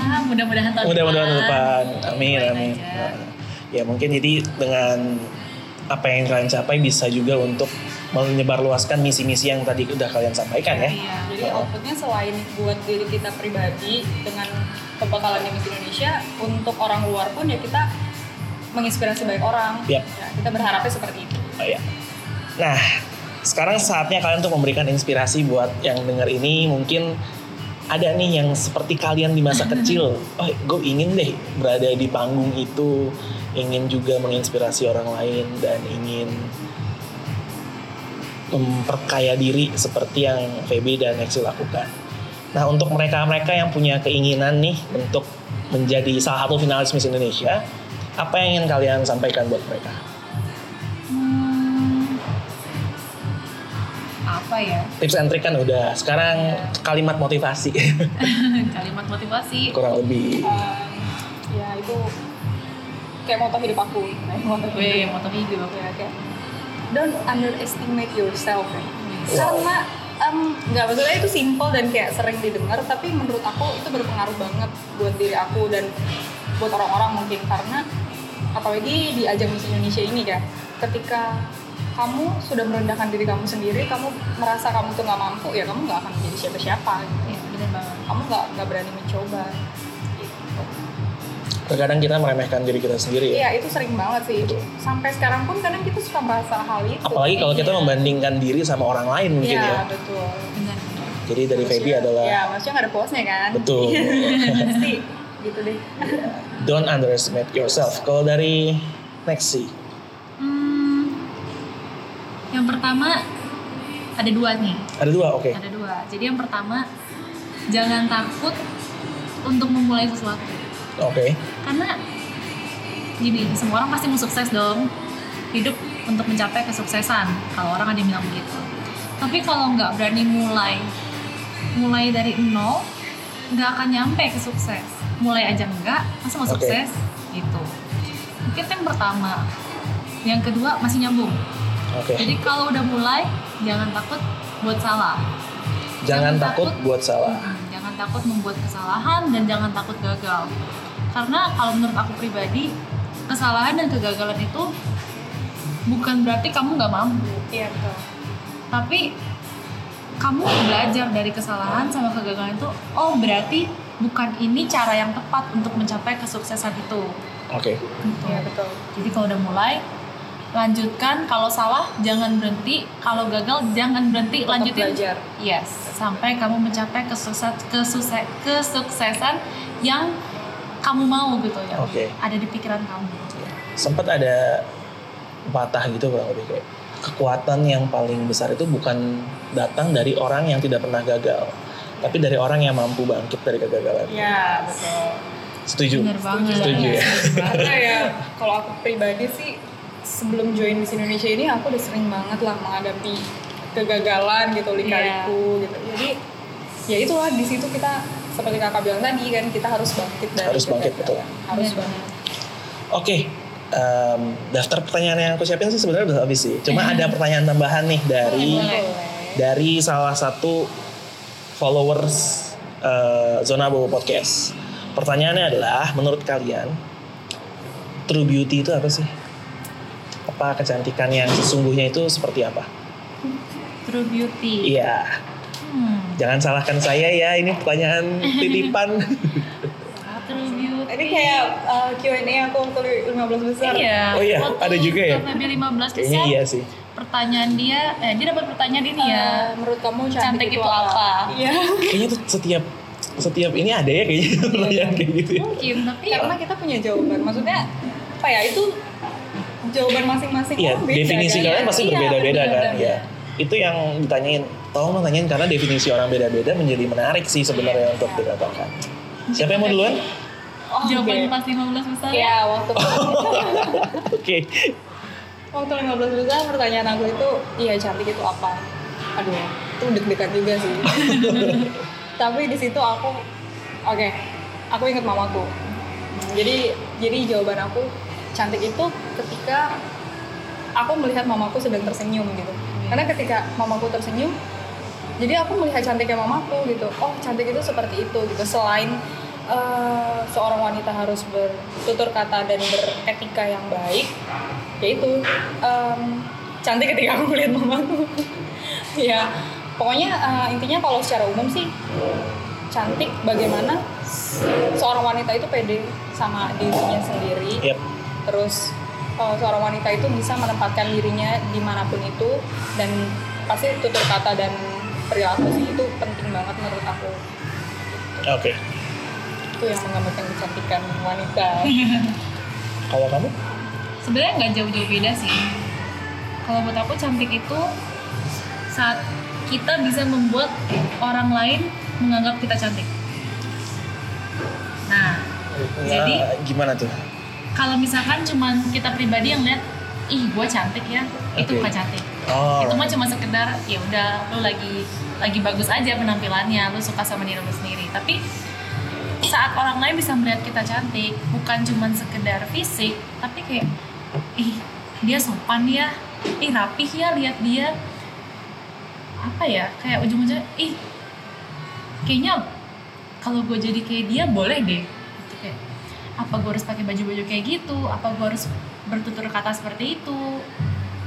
[SPEAKER 5] Ah, mudah-mudahan tahun
[SPEAKER 1] Mudah-mudahan tahun depan. Amin,
[SPEAKER 5] Doain
[SPEAKER 1] amin.
[SPEAKER 5] aja.
[SPEAKER 1] Nah, Ya mungkin jadi dengan apa yang kalian capai bisa juga untuk menyebarluaskan misi-misi yang tadi udah kalian sampaikan ya.
[SPEAKER 5] Iya.
[SPEAKER 3] jadi outputnya selain buat diri kita pribadi dengan kebakalannya Miss Indonesia untuk orang luar pun ya kita menginspirasi banyak orang
[SPEAKER 1] Yap.
[SPEAKER 3] Ya, kita berharapnya seperti itu
[SPEAKER 1] Oh, ya. Nah, sekarang saatnya kalian untuk memberikan inspirasi buat yang dengar ini. Mungkin ada nih yang seperti kalian di masa kecil. Oh, gue ingin deh berada di panggung itu, ingin juga menginspirasi orang lain dan ingin memperkaya diri seperti yang Feby dan Nexi lakukan. Nah, untuk mereka-mereka yang punya keinginan nih untuk menjadi salah satu finalis Miss Indonesia, apa yang ingin kalian sampaikan buat mereka?
[SPEAKER 5] Hmm, apa ya *laughs*
[SPEAKER 1] tips and trick kan udah sekarang kalimat motivasi *laughs*
[SPEAKER 5] kalimat motivasi
[SPEAKER 1] kurang lebih
[SPEAKER 3] Um, ya itu kayak moto hidup aku kayak moto hidup.
[SPEAKER 5] gue motor hijau
[SPEAKER 3] Ya, kayak, don't underestimate yourself ya.
[SPEAKER 1] Wow.
[SPEAKER 3] karena em, nggak maksudnya itu simple dan kayak sering didengar tapi menurut aku itu berpengaruh banget buat diri aku dan buat orang-orang mungkin karena apalagi di ajang Miss Indonesia ini ya ketika kamu sudah merendahkan diri kamu sendiri kamu merasa kamu tuh nggak mampu ya kamu nggak akan menjadi siapa-siapa gitu.
[SPEAKER 5] ya, bener banget
[SPEAKER 3] kamu nggak nggak berani mencoba gitu.
[SPEAKER 1] terkadang kita meremehkan diri kita sendiri ya
[SPEAKER 3] Iya itu sering banget sih. Sampai sekarang pun kadang kita suka merasa hal itu.
[SPEAKER 1] apalagi kalau kita
[SPEAKER 5] Iya.
[SPEAKER 1] membandingkan diri sama orang lain mungkin
[SPEAKER 3] Iya,
[SPEAKER 1] ya
[SPEAKER 3] betul.
[SPEAKER 5] bener
[SPEAKER 1] jadi dari Feby
[SPEAKER 3] Maksudnya-
[SPEAKER 1] adalah Iya.
[SPEAKER 3] Iya, maksudnya nggak ada puasnya kan?
[SPEAKER 1] betul
[SPEAKER 3] Pasti gitu deh.
[SPEAKER 1] don't underestimate yourself kalau dari Nexi
[SPEAKER 5] hmm, yang pertama ada dua nih
[SPEAKER 1] ada dua oke
[SPEAKER 5] ada dua jadi yang pertama jangan takut untuk memulai sesuatu
[SPEAKER 1] oke
[SPEAKER 5] karena gini semua orang pasti mau sukses dong hidup untuk mencapai kesuksesan kalau orang ada yang bilang begitu tapi kalau nggak berani mulai mulai dari nol nggak akan nyampe ke sukses mulai aja enggak masa mau
[SPEAKER 1] Oke.
[SPEAKER 5] sukses gitu mungkin itu yang pertama yang kedua masih nyambung
[SPEAKER 1] oke
[SPEAKER 5] jadi kalau udah mulai jangan takut buat salah
[SPEAKER 1] jangan
[SPEAKER 5] jangan
[SPEAKER 1] takut
[SPEAKER 5] takut.
[SPEAKER 1] buat salah
[SPEAKER 5] Mm-mm, Jangan takut membuat kesalahan dan jangan takut gagal. Karena kalau menurut aku pribadi, kesalahan dan kegagalan itu bukan berarti kamu nggak mampu,
[SPEAKER 3] Iya betul.
[SPEAKER 5] tapi kamu belajar dari kesalahan sama kegagalan itu, oh berarti bukan ini cara yang tepat untuk mencapai kesuksesan itu.
[SPEAKER 1] oke
[SPEAKER 5] Gitu.
[SPEAKER 3] Iya betul.
[SPEAKER 5] Jadi kalau udah mulai, lanjutkan. Kalau salah, jangan berhenti. Kalau gagal, jangan berhenti.
[SPEAKER 3] Tetap
[SPEAKER 5] Lanjutin
[SPEAKER 3] belajar.
[SPEAKER 5] Yes, sampai kamu mencapai kesuksesan, kesukse- kesuksesan yang kamu mau gitu ya.
[SPEAKER 1] Oke.
[SPEAKER 5] Ada di pikiran kamu.
[SPEAKER 1] sempat ada patah gitu kurang lebih kayak kekuatan yang paling besar itu bukan datang dari orang yang tidak pernah gagal tapi dari orang yang mampu bangkit dari kegagalan
[SPEAKER 3] Iya betul.
[SPEAKER 1] setuju
[SPEAKER 5] Bener
[SPEAKER 3] Iya,
[SPEAKER 5] banget.
[SPEAKER 1] Setuju ya.
[SPEAKER 5] Setuju banget.
[SPEAKER 3] Karena ya kalau aku pribadi sih sebelum join Miss Indonesia ini aku udah sering banget lah menghadapi kegagalan gitu lika-liku gitu. Jadi ya itulah di situ kita seperti kakak bilang tadi kan kita harus bangkit dari
[SPEAKER 1] Harus bangkit,
[SPEAKER 3] kegagalan. Harus
[SPEAKER 5] Bener
[SPEAKER 3] bangkit.
[SPEAKER 5] banget.
[SPEAKER 1] Oke, em, daftar pertanyaan yang aku siapin sih sebenarnya udah habis sih. Cuma ada pertanyaan tambahan nih dari
[SPEAKER 5] Iya. Boleh.
[SPEAKER 1] dari salah satu followers eh, Zona Bobo Podcast. Pertanyaannya adalah, menurut kalian true beauty itu apa sih? Apa kecantikan yang sesungguhnya itu seperti apa?
[SPEAKER 5] True beauty.
[SPEAKER 1] Iya,
[SPEAKER 5] Hmm,
[SPEAKER 1] jangan salahkan saya ya. Ini pertanyaan titipan.
[SPEAKER 5] Ah, true beauty.
[SPEAKER 3] Ini kayak uh, Q&A aku waktu 15 besar.
[SPEAKER 5] Iya.
[SPEAKER 1] Oh iya,
[SPEAKER 5] waktu
[SPEAKER 1] ada juga ya?
[SPEAKER 5] Top Baby 15
[SPEAKER 1] Kayaknya
[SPEAKER 5] besar,
[SPEAKER 1] iya sih.
[SPEAKER 5] Pertanyaan dia, eh, dia dapat pertanyaan ini ya.
[SPEAKER 3] Uh, menurut kamu
[SPEAKER 5] Cantik
[SPEAKER 3] cantik,
[SPEAKER 5] itu apa?
[SPEAKER 3] Iya.
[SPEAKER 1] Kayaknya tuh setiap setiap ini ada ya kayaknya *laughs* pertanyaan kayak gitu. ya.
[SPEAKER 5] Mungkin, tapi
[SPEAKER 3] Karena kita punya jawaban. Maksudnya apa ya itu jawaban masing-masing
[SPEAKER 1] Iya,
[SPEAKER 3] orang beda,
[SPEAKER 1] definisi
[SPEAKER 3] kan?
[SPEAKER 1] kalian pasti
[SPEAKER 3] Iya,
[SPEAKER 1] berbeda-beda kan,
[SPEAKER 3] berbeda-beda.
[SPEAKER 1] ya. Itu yang ditanyain. Tolong dong tanyain karena definisi orang beda-beda menjadi menarik sih sebenarnya untuk dikatakan. Siapa yang mau duluan?
[SPEAKER 3] Oh, Iya. oke.
[SPEAKER 5] jawaban pas 15 besar.
[SPEAKER 3] Iya, waktu
[SPEAKER 1] Oke.
[SPEAKER 3] waktu 15 besar pertanyaan aku itu iya cantik itu apa aduh itu deg-degan juga sih tapi di situ aku oke aku inget mamaku jadi jadi jawaban aku cantik itu ketika aku melihat mamaku sedang tersenyum gitu karena ketika mamaku tersenyum jadi aku melihat cantiknya mamaku gitu oh cantik itu seperti itu gitu selain eh, seorang wanita harus bertutur kata dan beretika yang baik yaitu em, cantik ketika aku melihat mamaku *laughs* ya pokoknya eh, intinya kalau secara umum sih cantik bagaimana seorang wanita itu pede sama dirinya sendiri
[SPEAKER 1] Yep.
[SPEAKER 3] terus eh, seorang wanita itu bisa menempatkan dirinya dimanapun itu dan pasti tutur kata dan perilaku sih itu penting banget menurut aku
[SPEAKER 1] Oke.
[SPEAKER 3] itu yang menggambarkan kecantikan *laughs* wanita
[SPEAKER 1] Kalau kamu?
[SPEAKER 5] sebenarnya nggak jauh-jauh beda sih kalau buat aku cantik itu saat kita bisa membuat orang lain menganggap kita cantik nah
[SPEAKER 1] Nah,
[SPEAKER 5] Jadi?
[SPEAKER 1] gimana tuh?
[SPEAKER 5] kalau misalkan cuman kita pribadi yang lihat ih gue cantik ya itu
[SPEAKER 1] Oke.
[SPEAKER 5] bukan cantik
[SPEAKER 1] Oh,
[SPEAKER 5] itu mah cuma sekedar ya udah lu lagi lagi bagus aja penampilannya lu suka sama diri lu sendiri tapi saat orang lain bisa melihat kita cantik bukan cuma sekedar fisik tapi kayak ih dia sopan ya ih rapih ya lihat dia apa ya kayak ujung-ujungnya ih kayaknya kalau gue jadi kayak dia boleh deh Gitu kayak, apa gue harus pakai baju-baju kayak gitu apa gue harus bertutur kata seperti itu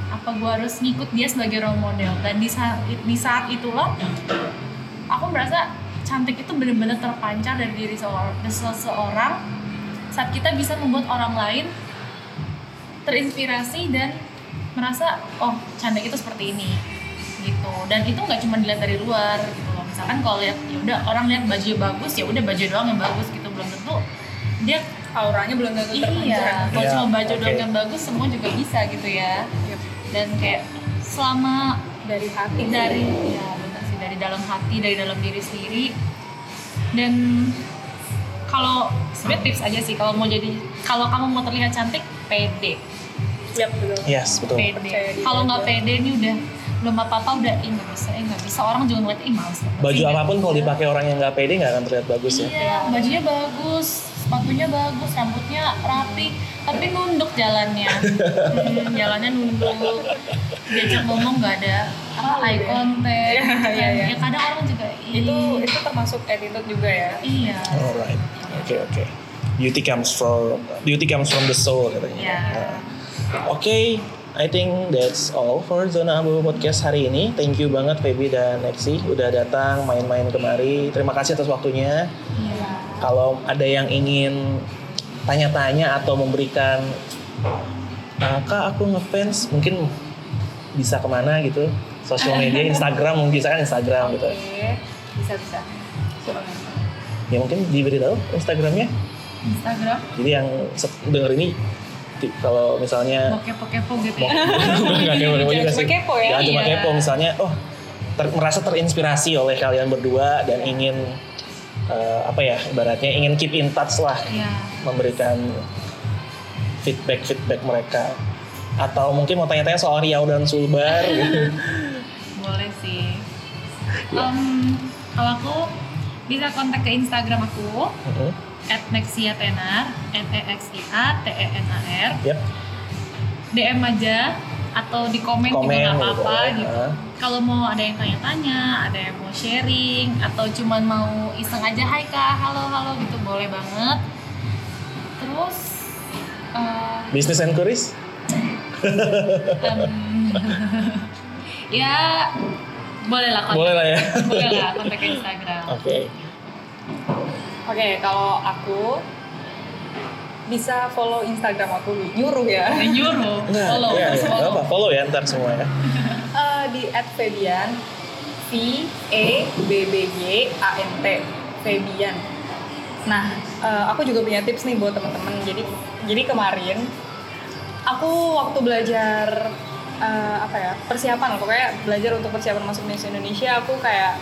[SPEAKER 5] apa gue harus ngikut dia sebagai role model dan di saat, di saat itulah aku merasa cantik itu benar-benar terpancar dari diri seorang seseorang saat kita bisa membuat orang lain terinspirasi dan merasa oh cantik itu seperti ini gitu dan itu nggak cuma dilihat dari luar gitu loh misalkan kalau lihat ya udah orang lihat baju bagus ya udah baju doang yang bagus gitu belum tentu dia
[SPEAKER 3] auranya belum tentu
[SPEAKER 5] iya
[SPEAKER 3] terpancar
[SPEAKER 5] kalau
[SPEAKER 1] Iya,
[SPEAKER 5] cuma baju
[SPEAKER 1] oke.
[SPEAKER 5] doang yang bagus semua juga bisa gitu ya
[SPEAKER 3] Yep.
[SPEAKER 5] dan kayak selama
[SPEAKER 3] dari hati
[SPEAKER 5] dari ya benar sih dari dalam hati dari dalam diri sendiri dan kalau sebenarnya tips aja sih kalau mau jadi kalau kamu mau terlihat cantik pede
[SPEAKER 3] Yap, betul.
[SPEAKER 1] Yes, betul.
[SPEAKER 5] pede
[SPEAKER 3] Percaya diri
[SPEAKER 5] kalau nggak
[SPEAKER 3] aja.
[SPEAKER 5] pede ini udah belum apa apa udah ih nggak bisa eh nggak bisa orang juga ngeliat ih males banget
[SPEAKER 1] Baju
[SPEAKER 5] sih, nggak
[SPEAKER 1] apapun kalau
[SPEAKER 5] bisa."
[SPEAKER 1] dipakai orang yang nggak pede nggak akan terlihat bagus ya.
[SPEAKER 5] iya bajunya bagus sepatunya bagus rambutnya rapi tapi nunduk jalannya Hmm, jalannya nunduk diajak ngomong nggak ada apa eye contact
[SPEAKER 3] Iya,
[SPEAKER 5] gitu kan.
[SPEAKER 3] iya, iya.
[SPEAKER 5] ya kadang orang juga "Ih,
[SPEAKER 3] itu itu termasuk attitude juga ya
[SPEAKER 5] Iya.
[SPEAKER 1] Alright. Oke oke. Beauty comes from beauty comes from the soul katanya.
[SPEAKER 5] Ya.
[SPEAKER 1] Nah, Oke, I think that's all for Zona Abu Podcast hari ini. Thank you banget Feby dan Nexi udah datang main-main kemari. Terima kasih atas waktunya.
[SPEAKER 5] Iya.
[SPEAKER 1] Kalau ada yang ingin tanya-tanya atau memberikan kakak aku ngefans mungkin bisa kemana gitu social media Instagram mungkin misalkan Instagram gitu
[SPEAKER 3] bisa bisa
[SPEAKER 1] ya mungkin diberitahu Instagramnya
[SPEAKER 5] Instagram
[SPEAKER 1] Jadi yang se- denger ini ti- kalau misalnya
[SPEAKER 5] kepo-kepo gitu
[SPEAKER 3] *laughs*
[SPEAKER 1] mau
[SPEAKER 5] ya.
[SPEAKER 1] nggak kepo juga
[SPEAKER 3] Jangan
[SPEAKER 1] sih.
[SPEAKER 3] cuma kepo ya.
[SPEAKER 1] Jangan cuma
[SPEAKER 5] Iya.
[SPEAKER 1] kepo misalnya oh ter- merasa terinspirasi oleh kalian berdua dan ingin eh, apa ya ibaratnya ingin keep in touch lah
[SPEAKER 5] Iya.
[SPEAKER 1] memberikan feedback feedback mereka atau mungkin mau tanya-tanya soal Riau dan
[SPEAKER 3] *laughs*
[SPEAKER 1] Sulbar gitu.
[SPEAKER 5] Boleh sih. Em, kalau aku bisa kontak ke Instagram aku
[SPEAKER 1] Mhm.
[SPEAKER 5] @nexiatenar, n e x i a t e n a r.
[SPEAKER 1] Yap,
[SPEAKER 5] DM aja atau di komen,
[SPEAKER 1] Komen
[SPEAKER 5] juga nggak
[SPEAKER 1] gitu,
[SPEAKER 5] apa-apa
[SPEAKER 1] boleh.
[SPEAKER 5] gitu.
[SPEAKER 1] Ah.
[SPEAKER 5] Kalau mau ada yang tanya-tanya, ada yang mau sharing atau cuman mau iseng aja, "Hai Kak, halo halo" gitu boleh banget. Terus eh,
[SPEAKER 1] Business and Kuris
[SPEAKER 5] Em, *laughs* ya boleh lah kontak
[SPEAKER 1] boleh lah ya.
[SPEAKER 5] boleh lah kontak ke
[SPEAKER 1] *laughs*
[SPEAKER 5] Instagram
[SPEAKER 1] Oke,
[SPEAKER 3] Oke, kalau aku bisa follow Instagram aku nyuruh ya
[SPEAKER 5] dan nyuruh
[SPEAKER 1] Nah,
[SPEAKER 5] follow
[SPEAKER 1] iya,
[SPEAKER 5] terus
[SPEAKER 1] iya. Nggak
[SPEAKER 5] follow
[SPEAKER 1] apa, follow ya ntar semua ya.
[SPEAKER 3] Eh, di @febian V E B B Y A N T Febian. Nah, eh, aku juga punya tips nih buat teman-teman. Jadi jadi kemarin aku waktu belajar eh, apa ya persiapan pokoknya belajar untuk persiapan masuk Miss Indonesia aku kayak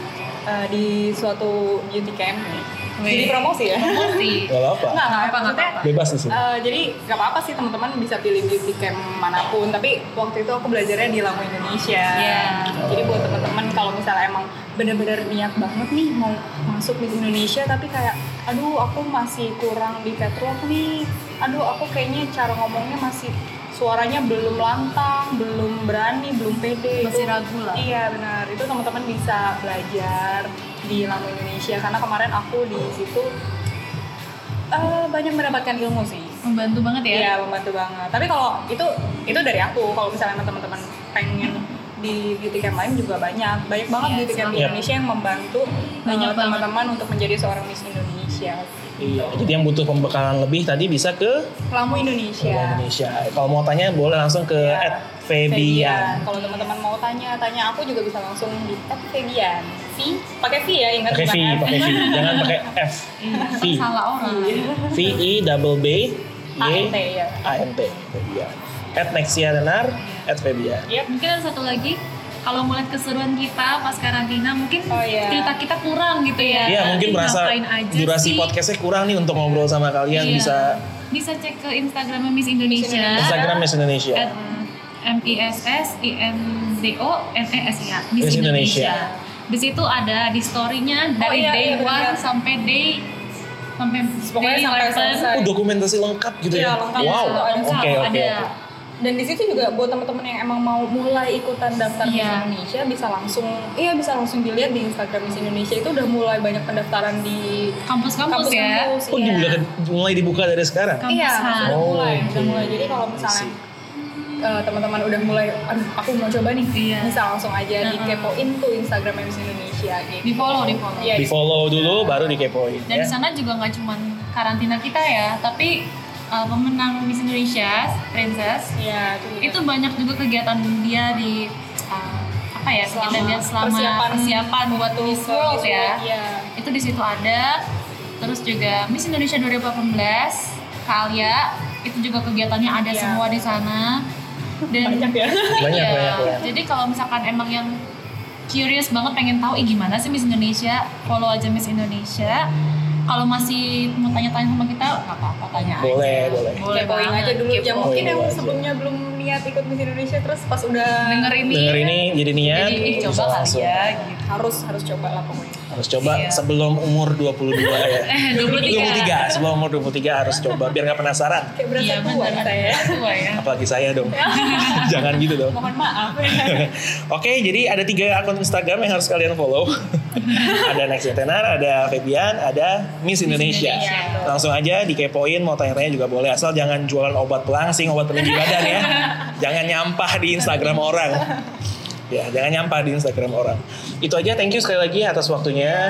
[SPEAKER 3] eh, di suatu beauty camp nih. Jadi promosi ya? *laughs*
[SPEAKER 2] promosi.
[SPEAKER 1] Gak apa-apa.
[SPEAKER 3] Enggak, enggak
[SPEAKER 5] Apa, nggak
[SPEAKER 3] maksudnya
[SPEAKER 5] apa-apa.
[SPEAKER 1] Bebas di sini.
[SPEAKER 3] Eh, jadi gak apa-apa sih teman-teman bisa pilih beauty camp manapun tapi waktu itu aku belajarnya di Lamu Indonesia
[SPEAKER 5] Iya.
[SPEAKER 3] jadi buat teman-teman kalau misalnya emang bener-bener niat banget nih mau masuk di Indonesia tapi kayak aduh aku masih kurang di catwalk nih aduh aku kayaknya cara ngomongnya masih suaranya belum lantang belum berani belum pede Itu-
[SPEAKER 5] Masih ragu lah.
[SPEAKER 3] Iya benar, itu teman-teman bisa belajar di Lamu Indonesia karena kemarin aku di situ eh, banyak mendapatkan ilmu sih.
[SPEAKER 5] Membantu banget ya.
[SPEAKER 3] Iya membantu banget. Tapi kalau itu itu dari aku. Kalau misalnya emang teman-teman pengen di beauty camp lain juga banyak, banyak banget
[SPEAKER 5] Iya,
[SPEAKER 3] beauty camp di
[SPEAKER 1] selalu.
[SPEAKER 3] Indonesia yang membantu banyak
[SPEAKER 5] banget.
[SPEAKER 3] teman-teman untuk menjadi seorang Miss Indonesia.
[SPEAKER 1] Iya. Jadi yang butuh pembekalan lebih tadi bisa ke
[SPEAKER 3] Lamu
[SPEAKER 5] Ya.
[SPEAKER 3] Indonesia.
[SPEAKER 1] Indonesia. Kalau mau tanya boleh langsung ke
[SPEAKER 3] Iya.
[SPEAKER 1] at Febian.
[SPEAKER 3] Kalau teman-teman mau tanya, tanya aku juga bisa langsung di at Febian. V, pakai V ya, ingat
[SPEAKER 1] Pakai V,
[SPEAKER 5] kan?
[SPEAKER 3] bukan F.
[SPEAKER 1] pakai V. Jangan pakai F.
[SPEAKER 5] Mm.
[SPEAKER 1] V.
[SPEAKER 5] Takut salah orang.
[SPEAKER 1] V I double B Y
[SPEAKER 3] ANT ya.
[SPEAKER 1] A N T. Febian. At Nexia Denar,
[SPEAKER 5] Ya.
[SPEAKER 1] at Febian.
[SPEAKER 3] Yep.
[SPEAKER 5] Mungkin ada satu lagi, kalau melihat keseruan kita pas karantina, mungkin
[SPEAKER 3] Oh, iya.
[SPEAKER 5] cerita kita kurang gitu ya.
[SPEAKER 1] Iya, mungkin merasa
[SPEAKER 5] ngapain aja
[SPEAKER 1] durasi
[SPEAKER 5] sih?
[SPEAKER 1] podcastnya kurang nih untuk ngobrol sama kalian
[SPEAKER 5] Iya.
[SPEAKER 1] bisa
[SPEAKER 5] bisa cek ke Instagramnya Miss Indonesia.
[SPEAKER 1] Instagram Miss Indonesia.
[SPEAKER 5] at eh, M I S S I N D O N E S I A Miss
[SPEAKER 1] Miss Indonesia.
[SPEAKER 5] Indonesia. Di situ ada di story-nya dari
[SPEAKER 3] iya,
[SPEAKER 5] day
[SPEAKER 3] iya, benar.
[SPEAKER 5] 1 sampai day sampai
[SPEAKER 3] Pokoknya
[SPEAKER 5] day
[SPEAKER 3] sampai
[SPEAKER 5] 11.
[SPEAKER 3] selesai.
[SPEAKER 1] Oh, dokumentasi lengkap gitu
[SPEAKER 3] Iya,
[SPEAKER 1] ya.
[SPEAKER 3] lengkap.
[SPEAKER 1] Wow.
[SPEAKER 3] Iya,
[SPEAKER 1] Oke,
[SPEAKER 5] lengkap.
[SPEAKER 1] oke. oke.
[SPEAKER 5] Ada.
[SPEAKER 3] Dan di situ juga buat teman-teman yang emang mau mulai ikutan daftar Miss
[SPEAKER 5] Iya.
[SPEAKER 3] Indonesia bisa langsung iya bisa langsung dilihat di Instagram Miss Indonesia itu udah mulai banyak pendaftaran di
[SPEAKER 5] Kampus-kampus ya.
[SPEAKER 3] kampus-kampus,
[SPEAKER 1] Oh,
[SPEAKER 3] iya.
[SPEAKER 1] dibuka- mulai dibuka dari sekarang.
[SPEAKER 5] Kampus
[SPEAKER 3] Iya,
[SPEAKER 5] Han.
[SPEAKER 3] udah
[SPEAKER 1] Oh,
[SPEAKER 3] mulai, udah
[SPEAKER 1] oke.
[SPEAKER 3] mulai. Jadi kalau
[SPEAKER 1] I
[SPEAKER 3] misalnya
[SPEAKER 1] see.
[SPEAKER 3] eh, teman-teman udah mulai, aduh aku mau coba nih,
[SPEAKER 5] Iya.
[SPEAKER 3] bisa langsung aja
[SPEAKER 5] Heeh.
[SPEAKER 3] dikepoin tuh Instagram Miss Indonesia gitu.
[SPEAKER 5] Di follow, di follow.
[SPEAKER 3] Iya,
[SPEAKER 1] Di follow dulu baru dikepoin ya.
[SPEAKER 5] Dan di sana juga nggak cuma karantina kita ya, tapi uh, pemenang Miss Indonesia Princess
[SPEAKER 3] Iya, itu juga.
[SPEAKER 5] itu banyak juga kegiatan dia di uh, apa ya
[SPEAKER 3] Selama
[SPEAKER 5] kegiatan dia selama
[SPEAKER 3] persiapan
[SPEAKER 5] persiapan, buat
[SPEAKER 3] tuh
[SPEAKER 5] Miss
[SPEAKER 3] ke
[SPEAKER 5] World
[SPEAKER 3] Miss
[SPEAKER 5] ya.
[SPEAKER 3] World, Iya.
[SPEAKER 5] itu di situ ada terus juga Miss Indonesia 2018 Kalya itu juga kegiatannya ada
[SPEAKER 3] Iya.
[SPEAKER 5] semua di sana dan
[SPEAKER 3] Banyak ya.
[SPEAKER 1] Banyak,
[SPEAKER 5] Iya.
[SPEAKER 1] banyak, banyak.
[SPEAKER 5] jadi kalau misalkan emang yang curious banget pengen tahu "Ih, gimana sih Miss Indonesia follow aja Miss Indonesia kalau masih mau tanya-tanya sama kita nggak apa-apa tanya
[SPEAKER 1] Boleh,
[SPEAKER 5] aja
[SPEAKER 1] boleh.
[SPEAKER 5] boleh
[SPEAKER 3] kepoin
[SPEAKER 5] banget.
[SPEAKER 3] aja dulu yang
[SPEAKER 5] Kepoin.
[SPEAKER 3] mungkin yang
[SPEAKER 1] aja.
[SPEAKER 3] sebelumnya belum niat ikut Miss Indonesia terus pas udah
[SPEAKER 5] denger ini
[SPEAKER 1] Denger ini jadi niat.
[SPEAKER 5] jadi "Ih,
[SPEAKER 1] bisa
[SPEAKER 5] coba kali
[SPEAKER 1] langsung.
[SPEAKER 5] ya gitu
[SPEAKER 3] harus harus coba lah pokoknya
[SPEAKER 1] Harus coba
[SPEAKER 5] Iya.
[SPEAKER 1] sebelum umur 22
[SPEAKER 5] *laughs*
[SPEAKER 1] ya.
[SPEAKER 5] eh 23
[SPEAKER 1] 23, sebelum umur 23 harus coba biar nggak penasaran.
[SPEAKER 3] kayak berasa
[SPEAKER 5] Iya,
[SPEAKER 3] tua
[SPEAKER 5] benar.
[SPEAKER 3] saya
[SPEAKER 5] tua ya
[SPEAKER 1] Apalagi saya
[SPEAKER 3] *laughs*
[SPEAKER 1] dong. Jangan gitu dong.
[SPEAKER 3] mohon maaf
[SPEAKER 1] *laughs* Oke, jadi ada tiga akun Instagram yang harus kalian
[SPEAKER 3] *laughs*
[SPEAKER 1] follow. ada Nexia Tenar, ada Febian, ada Miss Indonesia.
[SPEAKER 5] Indonesia.
[SPEAKER 1] Langsung aja dikepoin, mau tanya-tanya juga boleh. Asal jangan jualan obat pelangsing, obat peninggi badan
[SPEAKER 3] *laughs*
[SPEAKER 1] ya. jangan nyampah di Instagram orang. Ya, jangan nyampah di Instagram orang. Itu aja, thank you sekali lagi atas waktunya.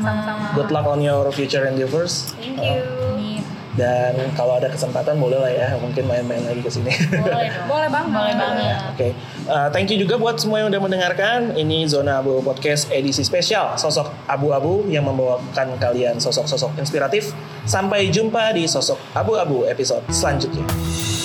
[SPEAKER 3] Iya, sama-sama
[SPEAKER 1] Good luck on your future endeavors.
[SPEAKER 3] thank you
[SPEAKER 5] Amin.
[SPEAKER 1] Dan kalau ada kesempatan boleh lah ya, mungkin main-main lagi ke sini. *laughs*
[SPEAKER 5] boleh dong
[SPEAKER 3] Iya, boleh banget
[SPEAKER 5] boleh banget
[SPEAKER 1] Oke, Eh, thank you juga buat semua yang udah mendengarkan. Ini Zona Abu Podcast edisi spesial Sosok Abu-Abu yang membawakan kalian sosok-sosok inspiratif. Sampai jumpa di Sosok Abu-Abu episode selanjutnya.